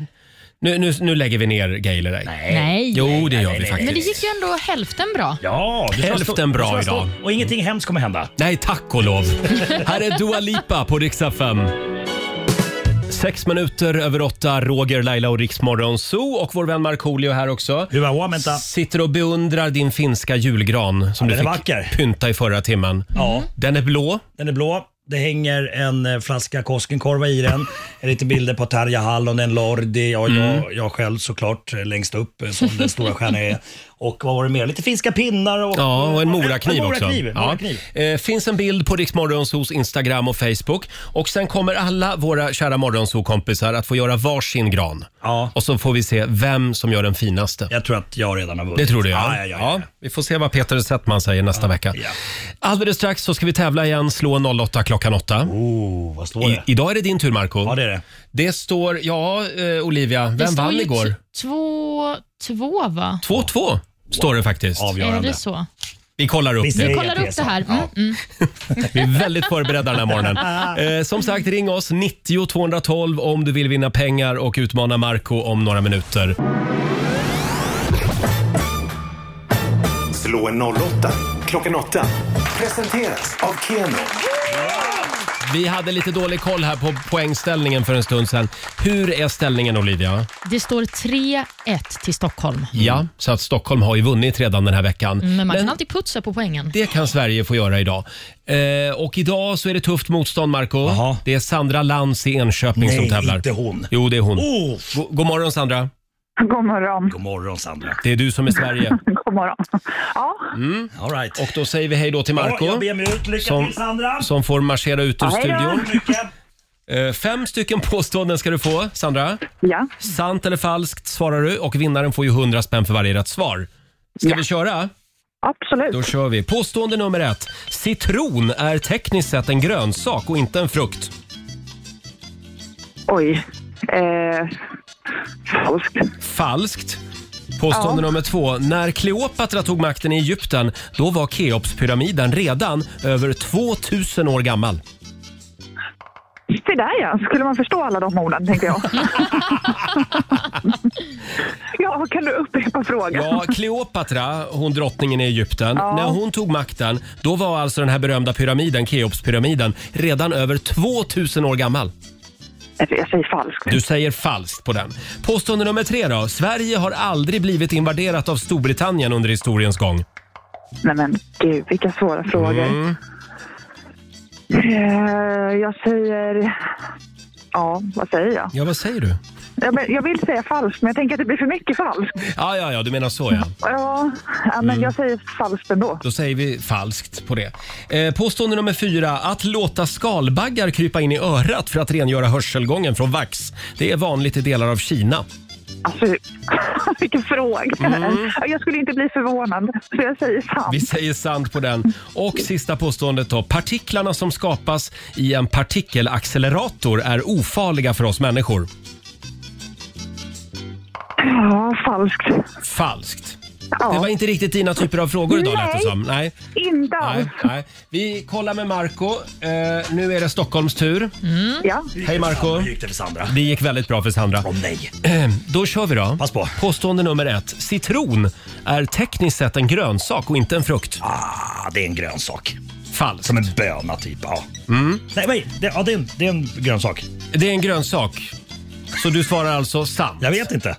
Speaker 1: Nu, nu, nu lägger vi ner Gay eller ej.
Speaker 2: Nej.
Speaker 1: Jo, det gör
Speaker 8: nej,
Speaker 1: vi
Speaker 8: nej.
Speaker 2: Men det
Speaker 1: faktiskt.
Speaker 2: gick ju ändå hälften bra.
Speaker 8: Ja, du ska vara
Speaker 1: Hälften
Speaker 8: stolt-
Speaker 1: bra
Speaker 8: du ska vara
Speaker 1: idag.
Speaker 8: stolt. Och ingenting hemskt kommer hända.
Speaker 1: Nej, tack och lov. Här är Dua Lipa på riksdag 5. Sex minuter över åtta, Roger, Laila och Riksmorgon Zoo och vår vän Markoolio här också.
Speaker 8: Du var vänta.
Speaker 1: Sitter och beundrar din finska julgran som
Speaker 8: Ja,
Speaker 1: du
Speaker 8: den
Speaker 1: fick
Speaker 8: är vacker.
Speaker 1: pynta i förra timmen.
Speaker 8: Ja,
Speaker 1: Den är blå.
Speaker 8: den är blå. Det hänger en eh, flaska Koskenkorva i den. Det är Lite bilder på Tarja Hallonen, Lordi och
Speaker 1: Mm.
Speaker 8: jag, jag själv såklart eh, längst upp eh, som den stora stjärnan är. Och vad var det mer? Lite finska pinnar och,
Speaker 1: Ja, och en
Speaker 8: En
Speaker 1: morakniv också.
Speaker 8: morakniv,
Speaker 1: Ja.
Speaker 8: morakniv.
Speaker 1: Eh, finns en bild på Riksmorgonsos Instagram och Facebook. Och sen kommer alla våra kära Morgonzoo-kompisar att få göra varsin gran.
Speaker 8: Ja.
Speaker 1: Och så får vi se vem som gör den finaste.
Speaker 8: Jag tror att jag redan har vunnit.
Speaker 1: Det tror du
Speaker 8: ja. Ja, ja, ja.
Speaker 1: Vi får se vad Peter Settman säger nästa vecka.
Speaker 8: ja.
Speaker 1: Alldeles strax så ska vi tävla igen, slå 08 klockan 8.
Speaker 8: Oh, vad står
Speaker 1: I,
Speaker 8: det?
Speaker 1: idag är det din tur Marco
Speaker 8: Ja, det är det.
Speaker 1: Det står, ja eh, Olivia,
Speaker 2: Det
Speaker 1: vem
Speaker 2: står
Speaker 1: vann
Speaker 2: ju
Speaker 1: igår?
Speaker 2: t- Två, två va?
Speaker 1: 2-2 står det faktiskt.
Speaker 2: Är
Speaker 8: Avgörande.
Speaker 2: det så?
Speaker 1: Vi kollar upp
Speaker 8: Vi
Speaker 1: det.
Speaker 8: ser-
Speaker 2: Kollar upp det här. Mm, mm.
Speaker 1: Vi är väldigt förberedda den här morgonen. Eh, som sagt, ring oss 90 212 om du vill vinna pengar och utmana Marco om några minuter.
Speaker 3: Slå en 08 klockan åtta. Presenteras av Keno.
Speaker 1: Vi hade lite dålig koll här på poängställningen för en stund sedan. Hur är ställningen
Speaker 8: Mm.
Speaker 1: Olivia?
Speaker 2: Det står 3-1 till Stockholm.
Speaker 1: Ja, så att Stockholm har ju vunnit redan den här veckan.
Speaker 2: Men man kan alltid putsa på poängen.
Speaker 1: det kan Sverige få göra idag. Eh, och idag så är det tufft motstånd, Marco.
Speaker 8: Jaha.
Speaker 1: Det är Sandra Lantz i Enköping
Speaker 8: Nej,
Speaker 1: som tävlar.
Speaker 8: inte hon.
Speaker 1: Jo, det är hon.
Speaker 8: Oh,
Speaker 1: Go- God morgon Sandra.
Speaker 9: God morgon.
Speaker 8: god morgon Sandra.
Speaker 1: Det är du som är Sverige.
Speaker 9: God morgon. Ja,
Speaker 8: All right.
Speaker 1: Och då säger vi hej då till Marco
Speaker 8: Ja, jag ber mig ut. Lycka
Speaker 1: Som-
Speaker 8: till Sandra.
Speaker 1: som får marschera ut ur
Speaker 9: hej då.
Speaker 1: studion.
Speaker 8: Mycket.
Speaker 1: Eh, fem stycken påståenden ska du få, Sandra.
Speaker 9: ja.
Speaker 1: Sant eller falskt svarar du och vinnaren får ju 100 spänn för varje rätt svar. Ska vi köra?
Speaker 9: absolut.
Speaker 1: Då kör vi. Påstående nummer ett. Citron är tekniskt sett en grönsak och inte en frukt.
Speaker 9: Oj. Eh, falskt.
Speaker 1: Falskt. Påstående nummer två. När Kleopatra tog makten i Egypten, då var Keopspyramiden redan över 2000 år gammal.
Speaker 9: Se där ja, skulle man förstå alla de orden, tänker jag. ja, kan du upprepa frågan?
Speaker 1: Ja, Kleopatra, hon drottningen i Egypten, när hon tog makten, då var alltså den här berömda pyramiden, Keopspyramiden, redan över 2000 år gammal.
Speaker 9: Alltså, Jag säger falskt.
Speaker 1: Du säger falskt på den. Påstående nummer tre då. Sverige har aldrig blivit invaderat av Storbritannien under historiens gång.
Speaker 9: Nej men gud, vilka
Speaker 1: Mm.
Speaker 9: svåra frågor. Eh, jag säger Ja, vad säger jag?
Speaker 1: Ja, vad säger du?
Speaker 9: Jag, men, jag vill säga falskt, men jag tänker att det blir för mycket falskt.
Speaker 1: Ja, ja, ja, du menar så ja.
Speaker 9: Ja, ja men
Speaker 1: Mm.
Speaker 9: jag säger falskt ändå.
Speaker 1: Då säger vi falskt på det. Eh, påstående nummer fyra. Att låta skalbaggar krypa in i örat för att rengöra hörselgången från vax. Det är vanligt i delar av Kina.
Speaker 9: Alltså, vilken fråga.
Speaker 1: Mm.
Speaker 9: Jag skulle inte bli förvånad, så jag säger sant.
Speaker 1: Vi säger sant på den. Och sista påståendet då. Partiklarna som skapas i en partikelaccelerator är ofarliga för oss människor.
Speaker 9: Ja, falskt.
Speaker 1: Falskt. Det var inte riktigt dina typer av frågor idag lät det
Speaker 9: Nej.
Speaker 1: som. Nej.
Speaker 9: Inte alls.
Speaker 1: Nej, nej. Vi kollar med Marco. Eh, nu är det Stockholms tur.
Speaker 9: Ja.
Speaker 1: Hej Marco.
Speaker 8: Hur gick det för Sandra?
Speaker 1: Det gick väldigt bra för Sandra.
Speaker 8: Åh nej.
Speaker 1: Då kör vi då. Pass på. Påstående nummer ett. Citron är tekniskt sett en grönsak och inte en frukt.
Speaker 8: Ah, det är en grönsak.
Speaker 1: Falskt.
Speaker 8: Som en böna typ. Ja.
Speaker 1: Mm.
Speaker 8: Nej, nej det, ja, det, är en, det är en grönsak.
Speaker 1: Det är en grönsak. Så du svarar alltså sant?
Speaker 8: Jag vet inte.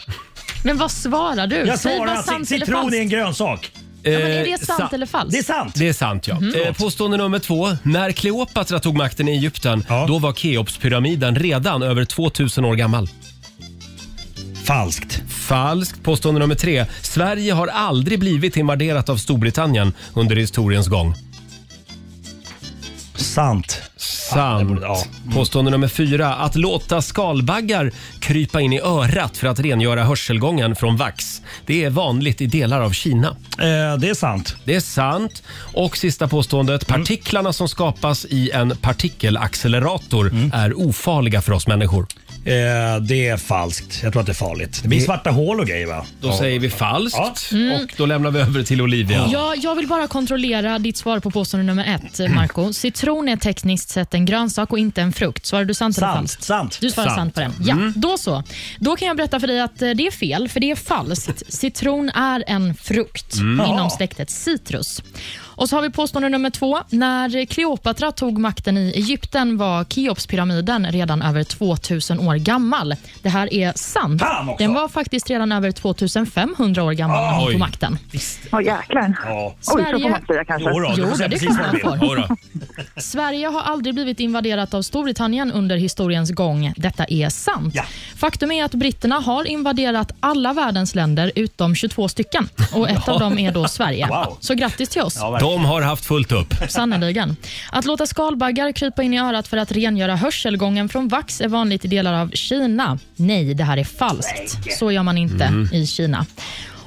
Speaker 2: Men vad svarar du?
Speaker 8: Jag
Speaker 2: Säg
Speaker 8: svarar
Speaker 2: bara
Speaker 8: att
Speaker 2: sant eller
Speaker 8: citron
Speaker 2: falskt.
Speaker 8: är en grönsak.
Speaker 2: Ja, men är det sant eller falskt?
Speaker 8: Det är sant.
Speaker 1: Eh, Det är sant ja.
Speaker 2: Mhm.
Speaker 1: Eh, påstående nummer två. När Kleopatra tog makten i Egypten, då var Keopspyramiden redan över 2000 år gammal.
Speaker 8: Falskt.
Speaker 1: Falskt. Påstående nummer tre. Sverige har aldrig blivit invaderat av Storbritannien under historiens gång.
Speaker 8: Sant.
Speaker 1: Sant. Påstående nummer fyra. Att låta skalbaggar krypa in i örat för att rengöra hörselgången från vax. Det är vanligt i delar av Kina.
Speaker 8: Eh, det är sant.
Speaker 1: Det är sant. Och sista påståendet. Partiklarna som skapas i en partikelaccelerator är ofarliga för oss människor.
Speaker 8: Eh, det är falskt. Jag tror att det är farligt. Det blir
Speaker 1: Det-
Speaker 8: svarta hål och grejer va?
Speaker 1: Då säger vi falskt
Speaker 2: Ja. Mm.
Speaker 1: och då lämnar vi över till Olivia.
Speaker 2: Ja, jag vill bara kontrollera ditt svar på påstående nummer ett, Marco. Citron är tekniskt sett en grönsak och inte en frukt. Svarar du sant, eller
Speaker 8: Sant,
Speaker 2: falskt?
Speaker 8: sant.
Speaker 2: Du svarar sant,
Speaker 8: Sant.
Speaker 2: på den. Ja,
Speaker 8: Mm.
Speaker 2: då så. Då kan jag berätta för dig att eh, det är fel, för det är falskt. Citron är en frukt
Speaker 14: Mm.
Speaker 2: inom
Speaker 14: Ja.
Speaker 2: släktet citrus. Och så har vi påstående nummer två. När Kleopatra tog makten i Egypten var Keopspyramiden redan över 2000 år gammal. Det här är sant.
Speaker 8: Fan också.
Speaker 2: Den var faktiskt redan över 2500 år gammal när hon
Speaker 8: Oj.
Speaker 2: tog makten.
Speaker 9: Åh jäklar.
Speaker 8: Ja.
Speaker 2: Sverige-
Speaker 9: Oj, så får man säga kanske.
Speaker 8: Jodå, du får
Speaker 2: Jodå,
Speaker 8: säga
Speaker 2: det
Speaker 8: precis
Speaker 2: kan
Speaker 8: vad
Speaker 2: man
Speaker 8: du vill.
Speaker 2: få.
Speaker 8: Jodå.
Speaker 2: Sverige har aldrig blivit invaderat av Storbritannien under historiens gång. Detta är sant. Faktum är att britterna har invaderat alla världens länder utom 22 stycken och ett
Speaker 1: Ja.
Speaker 2: av dem är då Sverige.
Speaker 1: Wow.
Speaker 2: Så grattis till oss.
Speaker 1: De har haft fullt upp.
Speaker 2: Sannerligen. Att låta skalbaggar krypa in i örat för att rengöra hörselgången från vax är vanligt i delar av Kina. Nej, det här är falskt. Så gör man inte
Speaker 14: Mm.
Speaker 2: i Kina.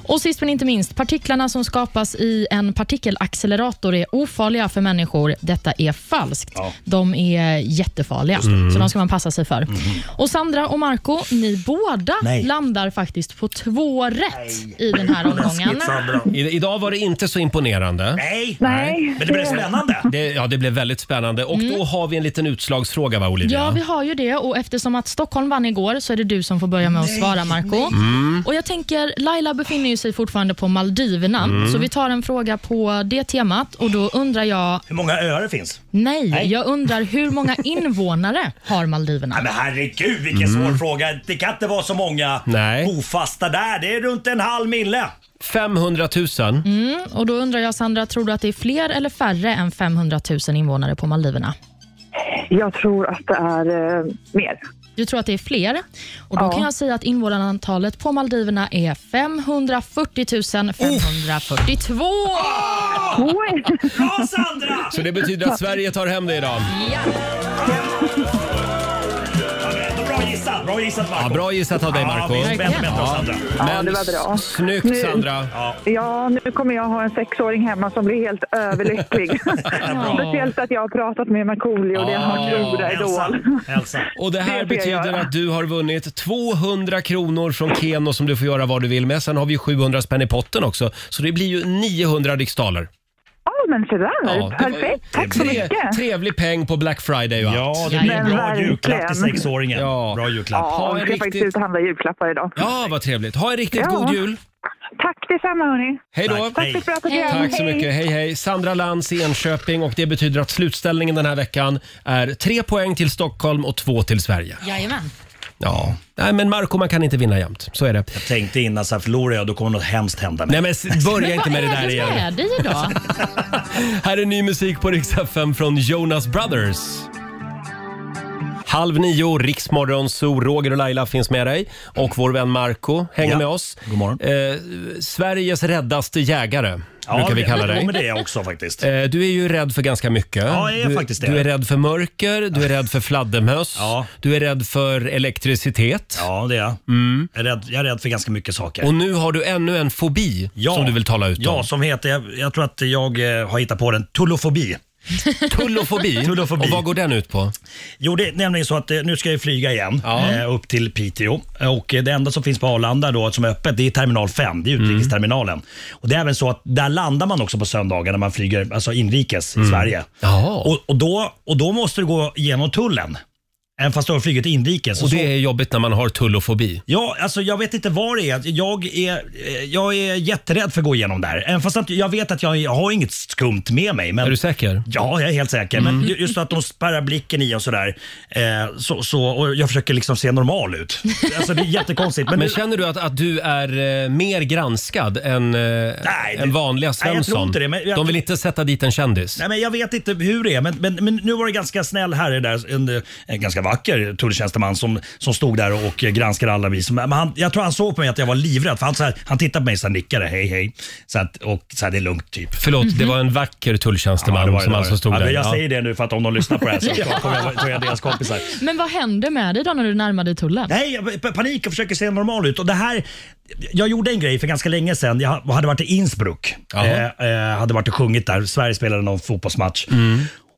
Speaker 2: Och sist men inte minst, partiklarna som skapas i en partikelaccelerator är ofarliga för människor. Detta är falskt. De är jättefarliga,
Speaker 14: Just det.
Speaker 2: så de ska man passa sig för. Och Sandra och Marco, ni båda
Speaker 1: Nej.
Speaker 2: landar faktiskt på två rätt i den här omgången.
Speaker 1: I, idag var det inte så imponerande.
Speaker 8: Nej,
Speaker 2: Nej.
Speaker 8: men det blev spännande.
Speaker 1: Det, ja, det blev väldigt spännande. Och då har vi en liten utslagsfråga va Olivia?
Speaker 2: Ja, vi har ju det och eftersom att Stockholm vann igår så är det du som får börja med att svara Marco.
Speaker 1: Mm.
Speaker 2: Och jag tänker, Laila befinner ju sig fortfarande på Maldiverna,
Speaker 8: Mm.
Speaker 2: så vi tar en fråga på det temat och då undrar jag,
Speaker 8: Hur många öar det finns?
Speaker 2: nej,
Speaker 8: Nej.
Speaker 2: jag undrar hur många invånare har Maldiverna?
Speaker 8: Nej, men herregud vilken
Speaker 1: Mm.
Speaker 8: svår fråga. Det kan inte vara så många bofasta där. Det är runt en halv mille.
Speaker 1: 500 000.
Speaker 2: Mm, och då undrar jag Sandra, tror du att det är fler eller färre än 500 000 invånare på Maldiverna?
Speaker 9: Jag tror att det är eh, mer.
Speaker 2: Du tror att det är fler? Och då
Speaker 9: Ja.
Speaker 2: kan jag säga att invånarantalet på Maldiverna är 540 542.
Speaker 8: Bra Sandra!
Speaker 1: Så det betyder att Sverige tar hem det idag.
Speaker 8: Bra gissat, bra gissat Marco.
Speaker 1: Ja, bra gissat av dig Marco.
Speaker 8: Ja, visst, bättre, bättre av Sandra.
Speaker 9: Ja, det var bra.
Speaker 1: Snyggt
Speaker 9: Nu-
Speaker 1: Sandra.
Speaker 9: Ja, nu kommer jag ha en sexåring hemma som blir helt överlycklig. Speciellt att jag har pratat med Markoolio, det är hans stora idol.
Speaker 1: Och det här
Speaker 9: Det får jag
Speaker 1: betyder
Speaker 9: göra.
Speaker 1: att du har vunnit 200 kronor från Keno som du får göra vad du vill med. Sen har vi 700 spänn i potten också. Så det blir ju 900 riksdaler.
Speaker 9: Ja, men se där. Perfekt. Tack så
Speaker 1: Tre,
Speaker 9: mycket.
Speaker 1: trevlig peng på Black Friday och allt.
Speaker 8: Ja, det blir en
Speaker 9: Men
Speaker 8: bra julklapp till
Speaker 9: verkligen.
Speaker 8: sexåringen. Bra julklapp.
Speaker 9: Ja, vi ska faktiskt ut och handla julklappar idag.
Speaker 1: Ja, vad trevligt. Ha en riktigt
Speaker 9: Ja.
Speaker 1: god jul.
Speaker 9: Tack detsamma hörni.
Speaker 1: Hej då!
Speaker 9: Tack för ett bra program.
Speaker 1: Tack så mycket. Hej, hej. Sandra Lantz i Enköping och det betyder att slutställningen den här veckan är tre poäng till Stockholm och två till Sverige.
Speaker 2: Jajamän.
Speaker 1: Ja. Nej, men Marco man kan inte vinna jämt. Så är det.
Speaker 8: Jag tänkte innan så här, förlorar jag då kommer något hemskt hända mig.
Speaker 1: Nej men s- börja inte med det där
Speaker 2: Vad är
Speaker 1: igen.
Speaker 2: det idag?
Speaker 1: Här är ny musik på Rix FM från Jonas Brothers. Halv nio, Riksmorgon, Zoo, Roger och Laila finns med dig. Och vår vän Marco hänger med oss. God morgon. Eh, Sveriges räddaste jägare. brukar vi
Speaker 8: det-
Speaker 1: kalla dig.
Speaker 8: jo, men det är jag också faktiskt.
Speaker 1: Eh, Du är ju rädd för ganska mycket.
Speaker 8: Ja, jag är
Speaker 1: du,
Speaker 8: faktiskt det.
Speaker 1: du är rädd för mörker, du är rädd för fladdermöss, du är rädd för elektricitet.
Speaker 8: Ja, det är jag. Jag, är rädd, jag är rädd för ganska mycket saker.
Speaker 1: Mm. Och nu har du ännu en fobi som du vill tala ut om.
Speaker 8: Ja, som heter, jag, jag tror att jag eh, har hittat på den, tullofobi.
Speaker 1: Tullofobi? Och vad går den ut på?
Speaker 8: Jo, det är nämligen så att eh, nu ska jag flyga igen
Speaker 1: Ja.
Speaker 8: eh, upp till Piteå. Och eh, det enda som finns på Arlanda då, som är öppet, det är terminal 5, det är
Speaker 1: Mm.
Speaker 8: utrikesterminalen. Och det är även så att där landar man också på söndagar när man flyger alltså inrikes i
Speaker 1: Mm.
Speaker 8: Sverige. Och, och, då, och då måste du gå igenom tullen. Även fast du har flugit inrikes.
Speaker 1: Och det är jobbigt när man har tullofobi.
Speaker 8: Ja, alltså jag vet inte vad det är. Jag är, eh, jag är jätterädd för att gå igenom där. Även fast att jag vet att jag, jag har inget skumt med mig. Men,
Speaker 1: Är du säker?
Speaker 8: Ja, jag är helt säker. Men ju- just att de spärrar blicken i och sådär. Eh, så, så, och jag försöker liksom se normal ut. Alltså det är jättekonstigt.
Speaker 1: Men,
Speaker 8: Men,
Speaker 1: känner du att, att du är eh, mer granskad än, eh, än vanliga
Speaker 8: Nej, jag tror
Speaker 1: Svensson?
Speaker 8: inte det, men jag-
Speaker 1: De vill inte sätta dit en kändis.
Speaker 8: Nej, men jag vet inte hur det är, men, men, men nu var det ganska snäll herre där, en, en ganska vacker tulltjänsteman som, som stod där och granskade alla vi. som- Men han, jag tror han såg på mig att jag var livrädd, för han, så här, han tittade på mig och nickade hej hej. Så att, och så här, det är lugnt typ.
Speaker 1: Förlåt, det var en vacker tulltjänsteman
Speaker 8: Ja, det var det,
Speaker 1: som
Speaker 8: det var
Speaker 1: alltså
Speaker 8: det.
Speaker 1: stod
Speaker 8: Ja,
Speaker 1: där.
Speaker 8: men jag
Speaker 1: Ja.
Speaker 8: säger det nu för att om de lyssnar på det här så
Speaker 1: Ja.
Speaker 8: kommer jag tror jag deras kompisar.
Speaker 2: Men vad hände med dig då när du närmade dig tullen?
Speaker 8: Nej, jag p- panik och försöker se normal ut. Och det här, jag gjorde en grej för ganska länge sedan. Jag hade varit i Innsbruck. Eh, eh, hade varit och sjungit där. Sverige spelade någon fotbollsmatch.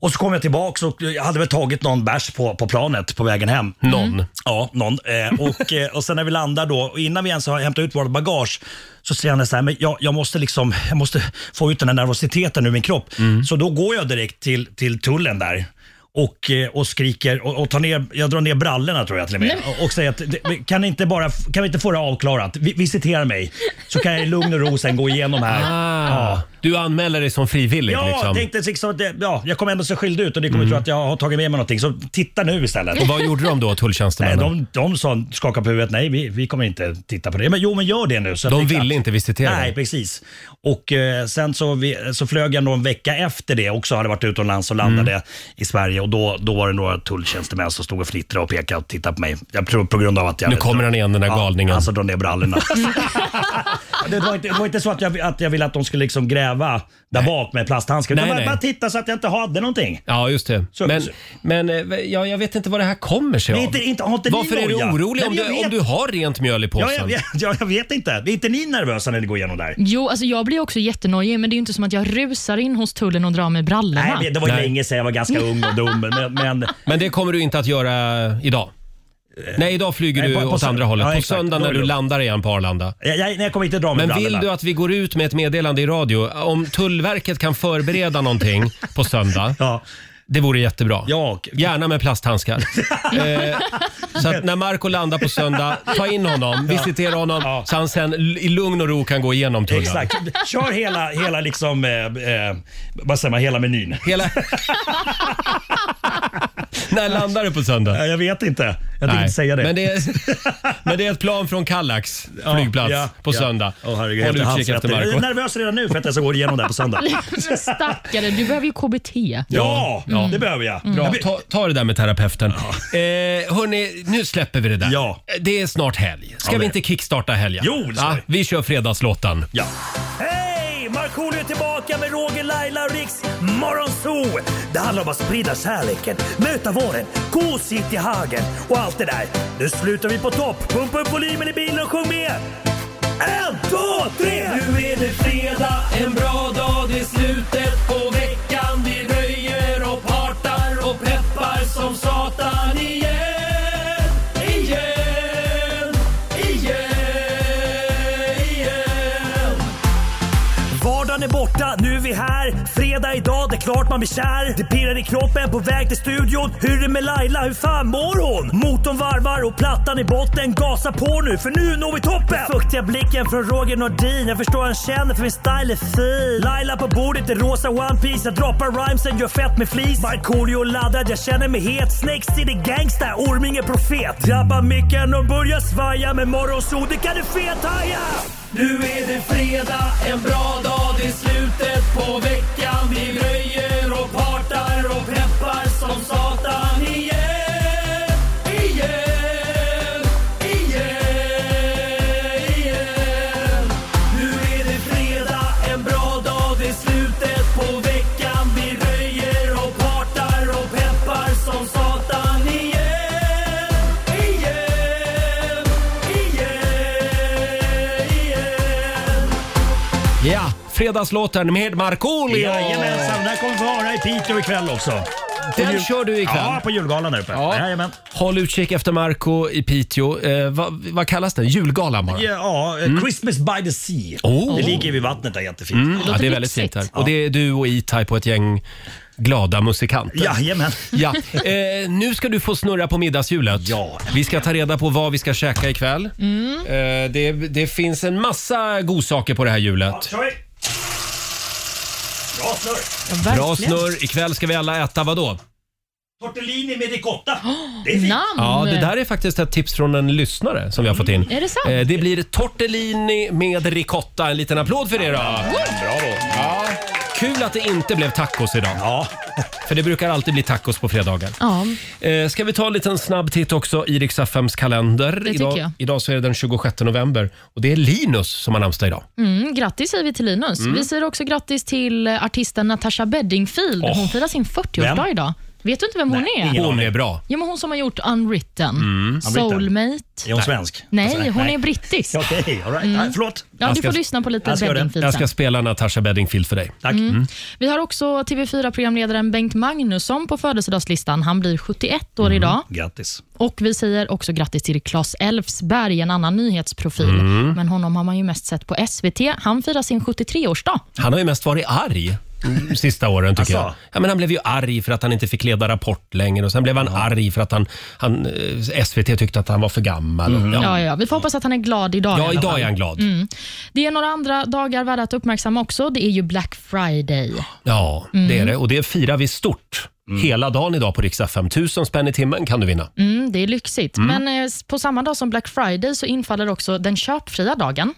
Speaker 8: Och så kom jag tillbaka och jag hade väl tagit någon bärs på, på planet på vägen hem.
Speaker 1: Någon? Mm.
Speaker 8: Ja, någon. Eh, och, eh, och sen när vi landar då, och innan vi ens har hämtat ut vårt bagage, så säger han så här, men jag, jag, måste liksom, jag måste få ut den här nervositeten ur min kropp. Så då går jag direkt till, till tullen där. Och, eh, och skriker och, och tar ner, jag drar ner brallorna tror jag till och med. Och, och säger att det- kan, ni inte bara, kan vi inte få det avklarat? Vi, visitera mig så kan jag i lugn och ro sen gå igenom här.
Speaker 1: Ah.
Speaker 8: Ja.
Speaker 1: Du anmäler dig som frivillig
Speaker 8: Ja,
Speaker 1: liksom. Mm.
Speaker 8: tänkte liksom att det, ja, jag kommer ändå se skyldig ut och ni kommer tro att jag har tagit med mig någonting. Så titta nu istället.
Speaker 1: Och vad gjorde de då,
Speaker 8: Nej,
Speaker 1: tulltjänstemännen?
Speaker 8: de, de sa, skakade på huvudet, nej vi, vi kommer inte titta på det. Men jo, men gör det nu. Så
Speaker 1: De
Speaker 8: det är
Speaker 1: ville
Speaker 8: klart.
Speaker 1: inte visitera
Speaker 8: Nej,
Speaker 1: dig.
Speaker 8: precis. Och eh, sen så, vi, så flög jag någon vecka efter det också, hade varit utomlands och landade
Speaker 1: Mm.
Speaker 8: i Sverige. Och då, då var det några tulltjänstemän som stod och fnittrade och pekade och tittade på mig. Jag tror på grund av att jag...
Speaker 1: Nu kommer han igen den där galningen.
Speaker 8: Alltså drar ner brallorna. det, var inte, det var inte så att jag, att jag ville att de skulle liksom gräva där bak med plasthandskar.
Speaker 1: Nej,
Speaker 8: Utan bara,
Speaker 1: nej.
Speaker 8: bara titta så att jag inte hade någonting.
Speaker 1: Ja, just det.
Speaker 8: Så-
Speaker 1: men
Speaker 8: så-
Speaker 1: men eh, ja, jag vet inte vad det här kommer sig
Speaker 8: Nej,
Speaker 1: av.
Speaker 8: inte- inte- har inte ni
Speaker 1: Varför är du
Speaker 8: noja?
Speaker 1: orolig
Speaker 8: Nej,
Speaker 1: om
Speaker 8: men jag
Speaker 1: du, om
Speaker 8: vet.
Speaker 1: du har rent mjöl i
Speaker 8: Ja,
Speaker 1: påsen?
Speaker 8: jag, vet- ja, jag vet inte. Är inte ni nervösa när ni går igenom där?
Speaker 2: Jo, alltså jag blir också jättenojig, men det är ju inte som att jag rusar in hos tullen och drar mig brallorna.
Speaker 8: Nej, det var ju länge sedan jag var ganska ung och dum. Men, men,
Speaker 1: Men det kommer du inte att göra idag? Nej, idag flyger
Speaker 8: Eh, nej,
Speaker 1: du
Speaker 8: på- på
Speaker 1: åt
Speaker 8: söndag.
Speaker 1: andra hållet.
Speaker 8: Ja,
Speaker 1: på
Speaker 8: exakt.
Speaker 1: söndag
Speaker 8: Då
Speaker 1: när
Speaker 8: är det
Speaker 1: du
Speaker 8: lugnt.
Speaker 1: landar igen på Arlanda.
Speaker 8: jag, jag, nej, jag kommer inte dra mig
Speaker 1: Men
Speaker 8: brallorna.
Speaker 1: vill du att vi går ut med ett meddelande i radio om Tullverket kan förbereda någonting på söndag? Det vore jättebra.
Speaker 8: Ja.
Speaker 1: Gärna med plasthandskar. eh, så att när Marco landar på söndag, ta in honom, visitera honom så han sen l- i lugn och ro kan gå igenom tullen.
Speaker 8: Exakt. Kör hela, hela liksom, eh, eh, vad säger man, hela menyn.
Speaker 1: Hela... När landar du på söndag?
Speaker 8: Jag vet inte. Jag tänkte
Speaker 1: Nej.
Speaker 8: inte säga det.
Speaker 1: Men det, är, men det är ett plan från Kallax flygplats
Speaker 8: ja,
Speaker 1: på
Speaker 8: ja.
Speaker 1: söndag.
Speaker 8: Åh, herregud,
Speaker 1: Håll
Speaker 8: jag har inte
Speaker 1: utkik
Speaker 8: haft
Speaker 1: efter
Speaker 8: rätt. Jag är
Speaker 1: Marco.
Speaker 8: nervös redan nu för att jag ska gå igenom det här på söndag. Ja,
Speaker 2: Men stackare, du behöver ju KBT.
Speaker 8: det behöver jag.
Speaker 1: Bra. Ta, ta det där med terapeuten. Eh, hörni, nu släpper vi det där.
Speaker 8: Ja.
Speaker 1: Det är snart helg. Ska
Speaker 8: Ja,
Speaker 1: vi
Speaker 8: det.
Speaker 1: inte kickstarta helgen?
Speaker 8: Jo, det ska
Speaker 1: Ja, vi. kör fredagslåten.
Speaker 8: Ja.
Speaker 15: Hej! Markoolio är tillbaka med Roger, Laila och Riks Morgonzoo! Det handlar om att sprida kärleken, möta våren, gosigt i hagen och allt det där. Nu slutar vi på topp! Pumpa upp volymen i bilen och sjung med! En, två, tre!
Speaker 16: Nu är det fredag, en bra dag, det är slutet på veckan. Vi röjer och partar och peppar som satan igen. Igen, igen, igen.
Speaker 15: Vardagen är borta, nu är vi här. Fredag idag, det är klart man blir kär. Det pirrar i kroppen på väg till studion. Hur är det med Laila, hur fan mår hon? Motorn varvar och plattan i botten. Gasa på nu, för nu når vi toppen! Den fuktiga blicken från Roger Nordin. Jag förstår han känner, för min style är fin. Laila på bordet i rosa One Piece Jag droppar rhymesen, gör fett med flis. Markoolio laddad, jag känner mig het. Snake City gangsta, Orming är profet. Drabbar micken och börjar svaja. Med morgonsol, det kan du fethaja!
Speaker 16: Nu är det fredag, en bra dag, det är slutet på veckan. Vi röjer och partar och peppar som satan igen.
Speaker 1: Ja, fredagslåten med Markoolio!
Speaker 17: Jajamensan, den här kommer vi få höra i Piteå ikväll också. På
Speaker 1: Den
Speaker 17: jul-
Speaker 1: kör du ikväll?
Speaker 17: Ja, på julgalan där uppe. Jajamän.
Speaker 1: Håll utkik efter Marco i Piteå. Eh, vad, vad kallas den? Julgalan bara?
Speaker 17: Ja, eh,
Speaker 2: Mm.
Speaker 17: Christmas by the sea.
Speaker 1: Oh.
Speaker 17: Det ligger vid vattnet där jättefint.
Speaker 1: Mm, ja, det är väldigt fint här. Och det är du och E-Type och ett gäng glada musikanter.
Speaker 17: Jajamän.
Speaker 1: Ja. Eh, nu ska du få snurra på middagshjulet. Ja. Vi ska ta reda på vad vi ska käka ikväll.
Speaker 18: Mm.
Speaker 1: Eh, det, det finns en massa godsaker på det här hjulet.
Speaker 17: Kör vi. Bra snurr.
Speaker 1: Bra snurr. Ikväll ska vi alla äta vad då?
Speaker 17: Tortellini med ricotta. Det är fint.
Speaker 1: Ja,
Speaker 2: Mm.
Speaker 1: det där är faktiskt ett tips från en lyssnare som vi har fått in.
Speaker 17: Är det sant?
Speaker 1: Eh, det blir tortellini med ricotta. En liten applåd för det då. Bravo. Ja. Kul att det inte blev tacos idag.
Speaker 17: Ja.
Speaker 1: För det brukar alltid bli tacos på fredagar.
Speaker 2: Ja.
Speaker 1: Eh, ska vi ta en liten snabb titt också i Rix FMs kalender?
Speaker 2: Det tycker
Speaker 1: idag,
Speaker 2: jag.
Speaker 1: idag så är det den 26 november och det är Linus som har namnsdag idag.
Speaker 2: Mm, grattis säger vi till Linus.
Speaker 1: Mm.
Speaker 2: Vi säger också grattis till eh, artisten Natasha Bedingfield.
Speaker 1: Åh.
Speaker 2: Hon firar sin 40-årsdag
Speaker 1: Vem?
Speaker 2: idag. Vet du inte vem hon är?
Speaker 1: Hon är bra.
Speaker 2: Ja, men hon som har gjort Unwritten,
Speaker 1: Mm. Alltså,
Speaker 2: Soulmate.
Speaker 17: Är hon svensk?
Speaker 2: Nej, hon är brittisk.
Speaker 17: Okej, all right.
Speaker 2: Mm.
Speaker 17: Nej, förlåt.
Speaker 2: Ja,
Speaker 1: Jag
Speaker 2: du får
Speaker 1: ska-
Speaker 2: lyssna på lite
Speaker 1: jag ska göra det.
Speaker 2: Bedingfield
Speaker 1: Jag ska
Speaker 2: sen.
Speaker 1: spela Natasha Bedingfield för dig. Tack.
Speaker 2: Mm. Vi har också TV4-programledaren Bengt Magnusson på födelsedagslistan. Han blir 71 år
Speaker 1: Mm.
Speaker 2: idag.
Speaker 17: Grattis.
Speaker 2: Och Vi säger också grattis till Claes Elfsberg, en annan nyhetsprofil.
Speaker 1: Mm.
Speaker 2: Men honom har man ju mest sett på SVT. Han firar sin 73-årsdag.
Speaker 1: Han har ju mest varit arg mm, sista åren tycker
Speaker 2: Asså?
Speaker 1: jag. Ja, men han blev ju arg för att han inte fick leda Rapport längre och sen blev han arg för att han, han, eh, SVT tyckte att han var för gammal. och-
Speaker 2: Ja. Ja, Vi får hoppas att han är glad idag. i
Speaker 1: Ja,
Speaker 2: alla
Speaker 1: idag
Speaker 2: fall.
Speaker 1: är han glad.
Speaker 2: Mm. Det är några andra dagar värda att uppmärksamma också. Det är ju Black Friday.
Speaker 1: Ja,
Speaker 2: Mm.
Speaker 1: det är det. Och det firar vi stort. Hela dagen idag på Rix FM. Tusen spänn i timmen kan du vinna.
Speaker 2: Mm, det är lyxigt.
Speaker 1: Mm.
Speaker 2: Men eh, på samma dag som Black Friday så infaller också den köpfria dagen.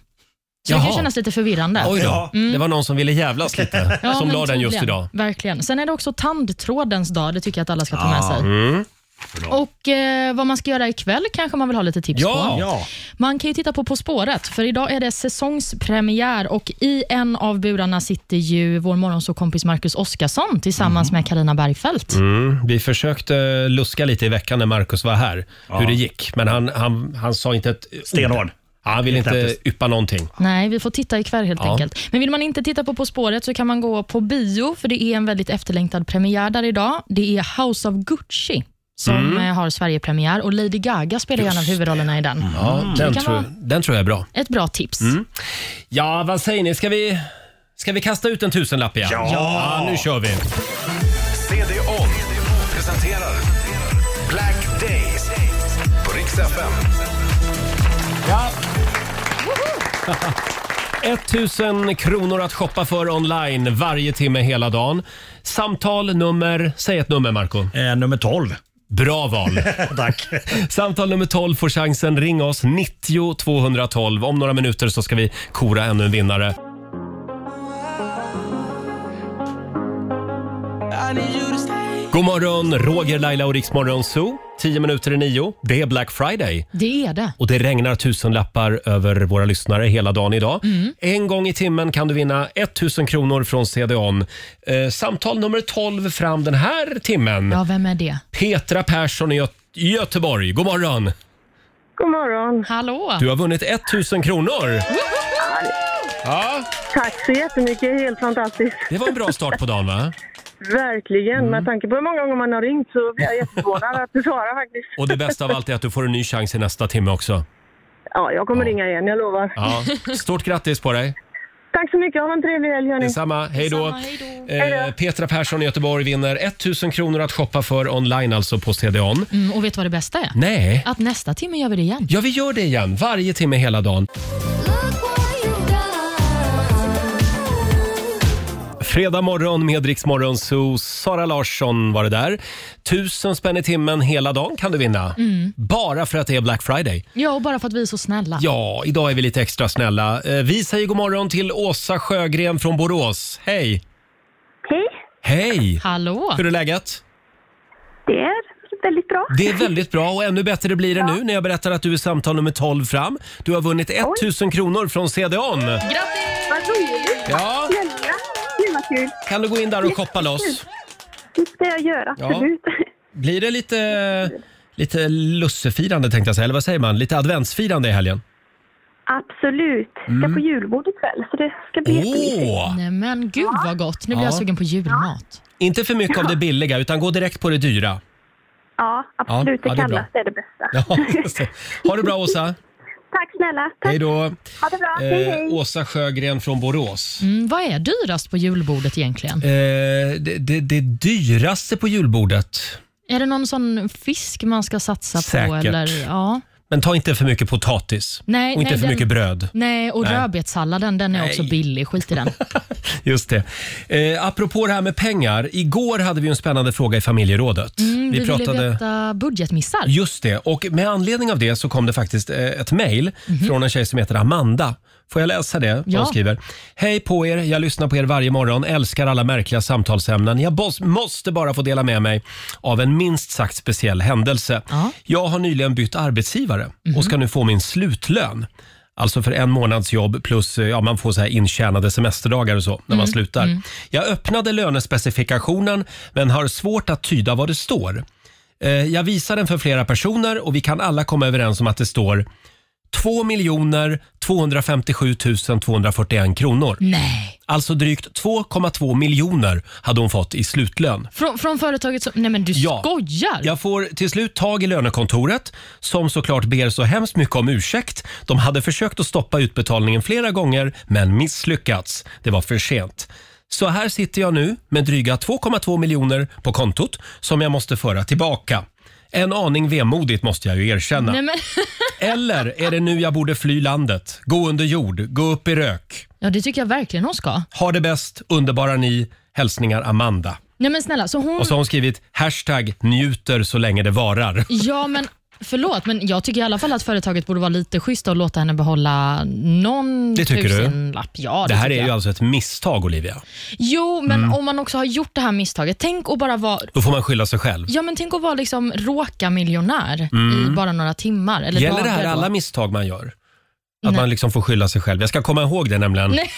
Speaker 2: Så det
Speaker 1: Jaha.
Speaker 2: kan kännas lite förvirrande.
Speaker 1: Oj då, det var någon som ville jävlas lite
Speaker 2: Ja,
Speaker 1: som
Speaker 2: men
Speaker 1: la den just
Speaker 2: tydligen.
Speaker 1: idag.
Speaker 2: Verkligen. Sen är det också tandtrådens dag. Det tycker jag att alla ska ta med sig.
Speaker 1: Mm.
Speaker 2: Och eh, vad man ska göra ikväll kanske man vill ha lite tips
Speaker 1: Ja.
Speaker 2: på.
Speaker 1: Ja.
Speaker 2: Man kan ju titta på På spåret, för idag är det säsongspremiär och i en av burarna sitter ju vår morgonsåkompis Marcus Oskarsson tillsammans
Speaker 1: Mhm.
Speaker 2: med Karina Bergfeldt.
Speaker 1: Mm. Vi försökte luska lite i veckan när Markus var här, hur det gick. Men han, han, han sa inte ett Stenhård. Han ville inte
Speaker 17: Knäpptes.
Speaker 1: yppa någonting.
Speaker 2: Nej, vi får titta ikväll helt
Speaker 1: Ja.
Speaker 2: enkelt. Men vill man inte titta på På spåret så kan man gå på bio, för det är en väldigt efterlängtad premiär där idag. Det är House of Gucci som
Speaker 1: Mm.
Speaker 2: eh, har Sverigepremiär och Lady Gaga spelar en av huvudrollerna i den.
Speaker 1: Ja,
Speaker 2: Så
Speaker 1: den,
Speaker 2: det kan
Speaker 1: tror,
Speaker 2: vara
Speaker 1: den tror jag är bra.
Speaker 2: ett bra tips.
Speaker 1: Mm. Ja, vad säger ni? Ska vi, ska vi kasta ut en tusenlapp igen?
Speaker 18: Ja.
Speaker 1: Nu kör vi.
Speaker 3: CD-ON presenterar Black Days på Rix FM.
Speaker 1: Ja. 1000 kronor att shoppa för online varje timme hela dagen. Samtal nummer, säg ett nummer Marco.
Speaker 17: eh, nummer 12.
Speaker 1: Bra val.
Speaker 17: Tack.
Speaker 1: Samtal nummer 12 får chansen. Ring oss 90 212. Om några minuter så ska vi kora ännu en vinnare. God morgon, Roger, Laila och Riksmorgon Zoo. 10 minuter i nio. Det är Black Friday.
Speaker 2: Det är det.
Speaker 1: Och det regnar tusenlappar över våra lyssnare hela dagen idag.
Speaker 2: Mm.
Speaker 1: En gång i timmen kan du vinna 1000 kronor från CDON. Eh, samtal nummer 12 fram den här timmen.
Speaker 2: Ja, vem är det?
Speaker 1: Petra Persson i Gö- Göteborg. God morgon!
Speaker 2: God morgon. Hallå.
Speaker 1: Du har vunnit 1000 kronor. Ja,
Speaker 19: Tack så jättemycket, helt fantastiskt.
Speaker 1: det var en bra start på dagen va?
Speaker 19: Verkligen,
Speaker 1: Mm.
Speaker 19: med tanke på hur många gånger man har ringt så blir jag jätteförvånad att du svarar faktiskt.
Speaker 1: Och det bästa av allt är att du får en ny chans i nästa timme också.
Speaker 19: Ja, jag kommer ringa igen, jag lovar.
Speaker 1: Ja. Stort grattis på dig!
Speaker 19: Tack så mycket, ha en trevlig helg hörni.
Speaker 1: Detsamma, hej då!
Speaker 19: Hej
Speaker 1: Eh, Petra Persson i Göteborg vinner 1000 kronor att shoppa för online alltså på CDON.
Speaker 2: Mm, och vet du vad det bästa är?
Speaker 1: Nej.
Speaker 2: Att nästa timme gör vi det igen.
Speaker 1: Ja, vi gör det igen varje timme hela dagen. Fredag morgon med Rix Morgon, så Sara Larsson var det där. Tusen spänn i timmen hela dagen kan du vinna.
Speaker 2: Mm.
Speaker 1: Bara för att det är Black Friday.
Speaker 2: Ja, och bara för att vi är så snälla.
Speaker 1: Ja, idag är vi lite extra snälla. Eh, Vi säger god morgon till Åsa Sjögren från Borås. Hej!
Speaker 19: Hej!
Speaker 1: Hej!
Speaker 2: Hallå!
Speaker 1: Hur är läget?
Speaker 19: Det är väldigt bra.
Speaker 1: Det är väldigt bra och ännu bättre blir det nu när jag berättar att du är samtal nummer 12 fram. Du har vunnit 1000 kronor från CDON.
Speaker 2: Grattis!
Speaker 19: Vad roligt!
Speaker 1: Ja.
Speaker 19: Snälla, Gud vad kul.
Speaker 1: Kan du gå in där och shoppa loss?
Speaker 19: Det ska jag göra,
Speaker 1: Ja.
Speaker 19: absolut.
Speaker 1: Blir det lite, lite lussefirande tänkte jag säga, eller vad säger man? Lite adventsfirande i helgen?
Speaker 4: Absolut. Ska
Speaker 1: Mm.
Speaker 4: på julbord ikväll, så det ska bli
Speaker 1: Åh!
Speaker 4: jättemysigt.
Speaker 2: Nej, men gud vad gott. Nu blir jag
Speaker 1: Ja.
Speaker 2: sugen på julmat.
Speaker 1: Inte för mycket av det billiga, utan gå direkt på det dyra.
Speaker 4: Ja, absolut.
Speaker 1: ja,
Speaker 4: det
Speaker 1: det är bra.
Speaker 4: kallaste är det bästa.
Speaker 1: Ja, så. ha det bra, Åsa.
Speaker 4: Tack snälla. Tack.
Speaker 1: Hej då.
Speaker 4: Ha det bra. Hej,
Speaker 1: Eh,
Speaker 4: hej.
Speaker 1: Åsa Sjögren från Borås.
Speaker 2: Mm, vad är dyrast på julbordet egentligen?
Speaker 1: Eh, det, det, det dyraste på julbordet.
Speaker 2: Är det någon sån fisk man ska satsa på?
Speaker 1: Säkert.
Speaker 2: Eller, ja.
Speaker 1: Men ta inte för mycket potatis.
Speaker 2: nej,
Speaker 1: och inte
Speaker 2: nej,
Speaker 1: för
Speaker 2: den-
Speaker 1: mycket bröd.
Speaker 2: Nej, och
Speaker 1: Nej.
Speaker 2: rödbetssalladen den är också billig. Skit i den.
Speaker 1: Just det. Eh, apropå det här med pengar. Igår hade vi ju en spännande fråga i familjerådet.
Speaker 2: Mm, vi ville veta budgetmissar.
Speaker 1: Just det. Och med anledning av det så kom det faktiskt eh, ett mejl
Speaker 2: Mhm.
Speaker 1: från en tjej som heter Amanda. Får jag läsa det? Vad
Speaker 2: Ja.
Speaker 1: Hon skriver. Hej på er. Jag lyssnar på er varje morgon. Älskar alla märkliga samtalsämnen. Jag bos- måste bara få dela med mig av en minst sagt speciell händelse. Jag har nyligen bytt arbetsgivare
Speaker 20: Mhm.
Speaker 1: och ska nu få min slutlön. Alltså för en månads jobb plus eh, ja, man får så här intjänade semesterdagar och så när man
Speaker 20: Mm,
Speaker 1: slutar. Jag öppnade lönespecifikationen men har svårt att tyda vad det står. Eh, Jag visar den för flera personer och vi kan alla komma överens om att det står 2 257 241 kronor.
Speaker 2: Nej.
Speaker 1: Alltså drygt 2,2 miljoner hade hon fått i slutlön.
Speaker 2: Från, från företaget som... Nej, men du
Speaker 1: Ja.
Speaker 2: skojar!
Speaker 1: Jag får till slut tag i lönekontoret som såklart ber så hemskt mycket om ursäkt. De hade försökt att stoppa utbetalningen flera gånger men misslyckats. Det var för sent. Så här sitter jag nu med dryga 2,2 miljoner på kontot som jag måste föra tillbaka. En aning vemodigt måste jag ju erkänna.
Speaker 2: Nej, men...
Speaker 1: Eller är det nu jag borde fly landet, gå under jord, gå upp i rök?
Speaker 2: Ja, det tycker jag verkligen hon ska.
Speaker 1: Ha det bäst, underbara ni. Hälsningar Amanda.
Speaker 2: Nej, men snälla, så hon...
Speaker 1: Och så har hon skrivit hashtag njuter så länge det varar.
Speaker 2: Ja, men förlåt, men jag tycker i alla fall att företaget borde vara lite schysst och låta henne behålla någon
Speaker 1: Det tycker du?
Speaker 2: tusenlapp. Ja,
Speaker 1: det, här är
Speaker 2: tycker jag.
Speaker 1: ju alltså ett misstag, Olivia.
Speaker 2: Jo, men
Speaker 1: Mm.
Speaker 2: om man också har gjort det här misstaget, tänk att bara vara
Speaker 1: Då får man skylla sig själv.
Speaker 2: Ja, men tänk att vara liksom råka miljonär
Speaker 1: Mm.
Speaker 2: i bara några timmar. Eller
Speaker 1: Gäller det
Speaker 2: dagar
Speaker 1: här
Speaker 2: då.
Speaker 1: alla misstag man gör? Att
Speaker 2: Nej.
Speaker 1: man liksom får skylla sig själv. Jag ska komma ihåg det nämligen.
Speaker 2: Nej,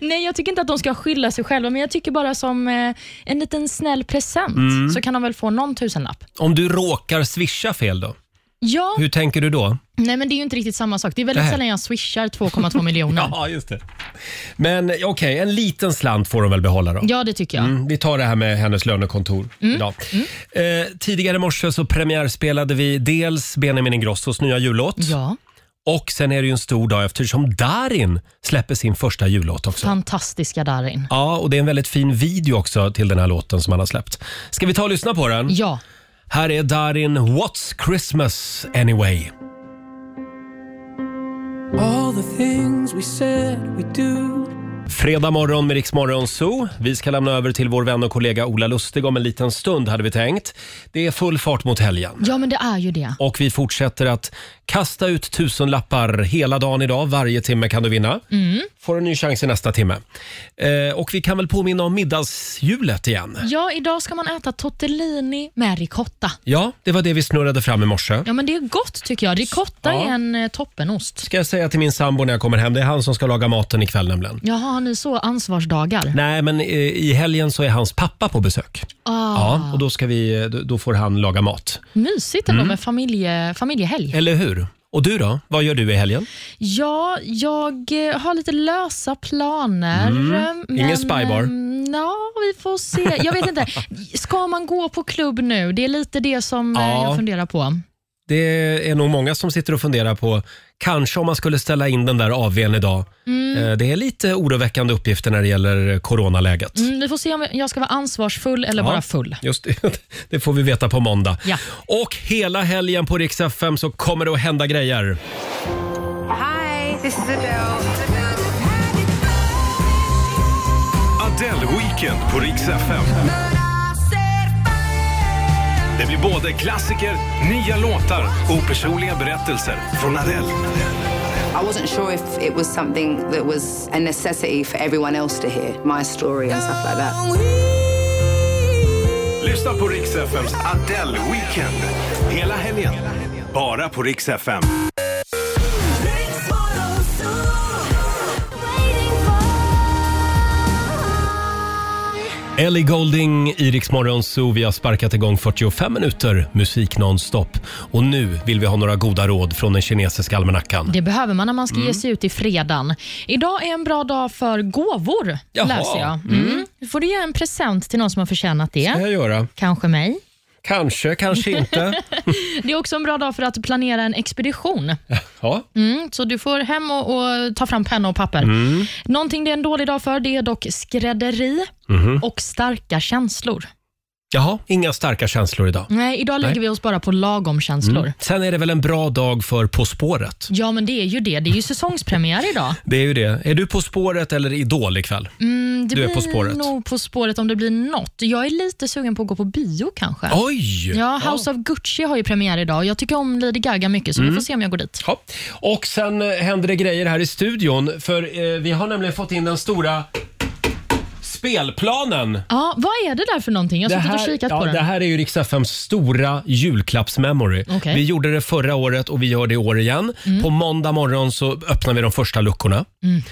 Speaker 2: nej, jag tycker inte att de ska skylla sig själva, men jag tycker bara som eh, en liten snäll present
Speaker 1: Mm.
Speaker 2: så kan de väl få någon tusenlapp.
Speaker 1: Om du råkar swisha fel då?
Speaker 2: Ja,
Speaker 1: Hur tänker du då?
Speaker 2: nej men det är ju inte riktigt samma sak. Det är väldigt
Speaker 1: Nej.
Speaker 2: sällan jag swishar 2,2 miljoner.
Speaker 1: Ja, just det. Men okej, en liten slant får de väl behålla då?
Speaker 2: Ja, det tycker jag.
Speaker 1: Mm, vi tar det här med hennes lönekontor idag. Eh, tidigare i morse så premiärspelade vi dels Benjamin Ingrossos nya jullåt.
Speaker 2: Ja.
Speaker 1: Och sen är det ju en stor dag eftersom Darin släpper sin första jullåt också.
Speaker 2: Fantastiska Darin.
Speaker 1: Ja, och det är en väldigt fin video också till den här låten som han har släppt. Ska vi ta och lyssna på den?
Speaker 2: Ja.
Speaker 1: Här är Darin What's Christmas Anyway.
Speaker 9: All the things we said we do.
Speaker 1: Fredag morgon med Rix Morgon Zoo. Vi ska lämna över till vår vän och kollega Ola Lustig om en liten stund hade vi tänkt. Det är full fart mot helgen.
Speaker 2: Ja, men det är ju det.
Speaker 1: Och vi fortsätter att kasta ut tusenlappar hela dagen idag. Varje timme kan du vinna.
Speaker 2: Mm.
Speaker 1: Får en ny chans i nästa timme. Eh, och vi kan väl påminna om middagshjulet igen.
Speaker 2: Ja, idag ska man äta tortellini med ricotta.
Speaker 1: Ja, det var det vi snurrade fram i morse.
Speaker 2: Ja, men det är gott tycker jag.
Speaker 1: Ja.
Speaker 2: Ricotta är en eh, toppenost.
Speaker 1: Ska jag säga till min sambo när jag kommer hem. Det är han som ska laga maten ikväll nämligen.
Speaker 2: Jaha, har ni så ansvarsdagar?
Speaker 1: Nej, men eh, i helgen så är hans pappa på besök.
Speaker 2: Ah,
Speaker 1: Ja, och då, ska vi, eh, då- då får han laga mat.
Speaker 2: Mysigt ändå
Speaker 1: Mm. Eh.
Speaker 2: med familje, familjehelg.
Speaker 1: Eller hur? Och du då? Vad gör du i helgen?
Speaker 2: Ja, jag eh, har lite lösa planer.
Speaker 1: Mm.
Speaker 2: eh, men,
Speaker 1: Ingen spybar?
Speaker 2: eh, Ja, vi får se. Jag vet inte. Ska man gå på klubb nu? Det är lite det som eh,
Speaker 1: Ja.
Speaker 2: jag funderar på.
Speaker 1: Det är nog många som sitter och funderar på kanske om man skulle ställa in den där AWn idag.
Speaker 2: Mm.
Speaker 1: Eh, Det är lite oroväckande uppgifter när det gäller coronaläget.
Speaker 2: Mm, vi får se om jag ska vara ansvarsfull eller
Speaker 1: Ja,
Speaker 2: bara full.
Speaker 1: Just det, det får vi veta på måndag.
Speaker 2: Ja.
Speaker 1: Och hela helgen på Rix FM så kommer det att hända grejer.
Speaker 18: Hi, this is Adele.
Speaker 5: Adele Weekend på Rix FM. Det blir både klassiker, nya låtar och personliga berättelser från Adele.
Speaker 21: I wasn't sure if it was something that was a necessity for everyone else to hear, my story and stuff like that.
Speaker 5: Lyssna på Rix FMs Adele Weekend hela helgen. Bara på Rix FM.
Speaker 1: Ellie Golding i Rix Morgon Zoo. Vi har sparkat igång 45 minuter musik nonstop. Och nu vill vi ha några goda råd från den kinesiska almanackan.
Speaker 2: Det behöver man när man ska
Speaker 1: Mm.
Speaker 2: ge sig ut i fredan. Idag är en bra dag för gåvor,
Speaker 1: Jaha.
Speaker 2: läser jag. Mm.
Speaker 1: Mm.
Speaker 2: Får du ge en present till någon som har förtjänat det?
Speaker 1: Ska jag göra?
Speaker 2: Kanske mig.
Speaker 1: Kanske, kanske inte.
Speaker 2: Det är också en bra dag för att planera en expedition.
Speaker 1: Ja.
Speaker 2: Mm, så du får hem och, och ta fram penna och papper.
Speaker 1: Mm.
Speaker 2: Någonting det är en dålig dag för det är dock skrädderi
Speaker 1: Mhm.
Speaker 2: och starka känslor.
Speaker 1: Jaha, inga starka känslor idag.
Speaker 2: Nej, idag
Speaker 1: Nej.
Speaker 2: lägger vi oss bara på lagom känslor.
Speaker 1: Mm. Sen är det väl en bra dag för På spåret?
Speaker 2: Ja, men det är ju det. Det är ju säsongspremiär idag.
Speaker 1: Det är ju det. Är du På spåret eller Idol ikväll?
Speaker 2: Mm, det
Speaker 1: Du är
Speaker 2: blir
Speaker 1: På spåret.
Speaker 2: nog På spåret om det blir något. Jag är lite sugen på att gå på bio kanske.
Speaker 1: Oj!
Speaker 2: Ja, House of Gucci har ju premiär idag och jag tycker om Lady Gaga mycket så
Speaker 1: Mm.
Speaker 2: vi får se om jag går dit.
Speaker 1: Ja. Och sen eh, händer det grejer här i studion för eh, vi har nämligen fått in den stora spelplanen.
Speaker 2: Ja, vad är det där för någonting? Jag har suttit och kikat
Speaker 1: ja,
Speaker 2: på den.
Speaker 1: det här är ju Rix FMs stora julklappsmemory.
Speaker 2: Okej. Mm.
Speaker 1: Vi gjorde det förra året och vi gör det i år igen. På måndag morgon så öppnar vi de första luckorna.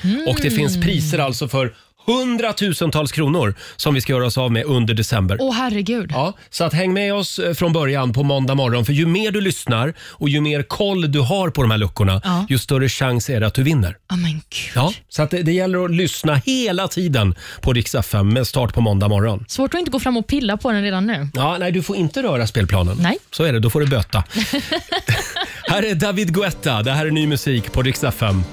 Speaker 18: Mhm.
Speaker 1: Och det finns priser alltså för hundratusentals kronor som vi ska göra oss av med under december.
Speaker 2: Åh herregud.
Speaker 1: Ja, så att häng med oss eh, från början på måndag morgon. För ju mer du lyssnar och ju mer koll du har på de här luckorna,
Speaker 2: Ja.
Speaker 1: ju större chans är det att du vinner.
Speaker 2: Ja, men gud.
Speaker 1: Ja, så att det, det gäller att lyssna hela tiden på Rix FM med start på måndag morgon.
Speaker 2: Svårt att inte gå fram och pilla på den redan nu.
Speaker 1: Ja, nej, du får inte röra spelplanen.
Speaker 2: Nej.
Speaker 1: Så är det, då får du böta. här är David Guetta. Det här är ny musik på Rix FM.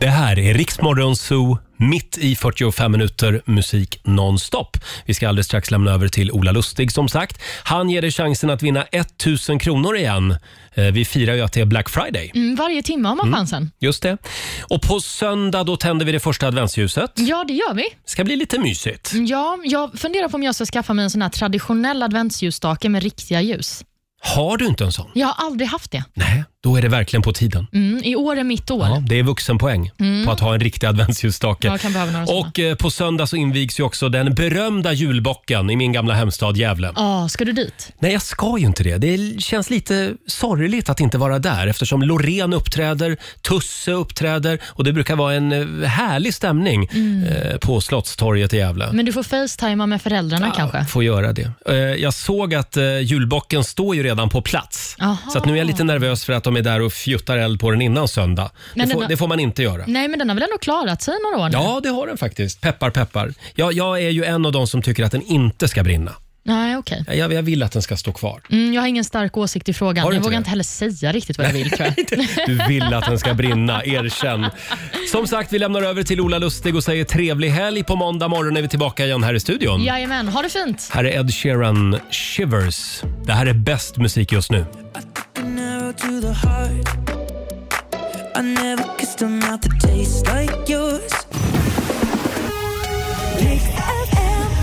Speaker 1: Det här är Riksmorgon Zoo, mitt i 45 minuter musik nonstop. Vi ska alldeles strax lämna över till Ola Lustig som sagt. Han ger dig chansen att vinna 1000 kronor igen. Eh, Vi firar ju att det är Black Friday.
Speaker 2: Mm, varje timme har man
Speaker 1: Mm.
Speaker 2: chansen.
Speaker 1: Just det. Och på söndag då tänder vi det första adventsljuset.
Speaker 2: Ja, det gör vi.
Speaker 1: Det ska bli lite mysigt.
Speaker 2: Ja, jag funderar på om jag ska skaffa mig en sån här traditionell adventsljusstake med riktiga ljus.
Speaker 1: Har du inte en sån?
Speaker 2: Jag har aldrig haft det.
Speaker 1: Nej, då är det verkligen på tiden.
Speaker 2: Mm, I år är mitt år.
Speaker 1: Ja, det är vuxenpoäng
Speaker 2: Mm.
Speaker 1: på att ha en riktig adventsljusstake.
Speaker 2: Jag kan behöva några såna.
Speaker 1: Och eh, på söndag så invigs ju också den berömda julbocken i min gamla hemstad Gävle.
Speaker 2: Ja, ska du dit?
Speaker 1: Nej, jag ska ju inte det. Det känns lite sorgligt att inte vara där eftersom Loreen uppträder, Tusse uppträder och det brukar vara en eh, härlig stämning
Speaker 2: Mm.
Speaker 1: eh, på Slottstorget i Gävle.
Speaker 2: Men du får facetima med föräldrarna kanske?
Speaker 1: Får göra det. Eh, Jag såg att eh, julbocken står ju redan på plats.
Speaker 2: Aha.
Speaker 1: Så att nu är jag lite nervös för att de är där och fjuttar eld på den innan söndag.
Speaker 2: Men
Speaker 1: det, får,
Speaker 2: den har-
Speaker 1: det får man inte göra.
Speaker 2: Nej, men den har väl ändå klarat sig i några år nu?
Speaker 1: Ja, det har den faktiskt. Peppar, peppar. Jag, jag är ju en av de som tycker att den inte ska brinna.
Speaker 2: Nej, okej.
Speaker 1: Jag, jag vill att den ska stå kvar.
Speaker 2: Mm, jag har ingen stark åsikt i frågan.
Speaker 1: Har du
Speaker 2: Jag
Speaker 1: inte
Speaker 2: vågar
Speaker 1: det?
Speaker 2: inte heller säga riktigt vad jag vill tror jag.
Speaker 1: Du vill att den ska brinna, erkänn. Som sagt, vi lämnar över till Ola Lustig och säger trevlig helg. På måndag morgon är vi tillbaka igen här i studion.
Speaker 2: Jajamän, ha det fint.
Speaker 1: Här är Ed Sheeran, Shivers. Det här är bäst musik just nu.
Speaker 9: An arrow to the heart. I never kissed a mouth that tastes like yours.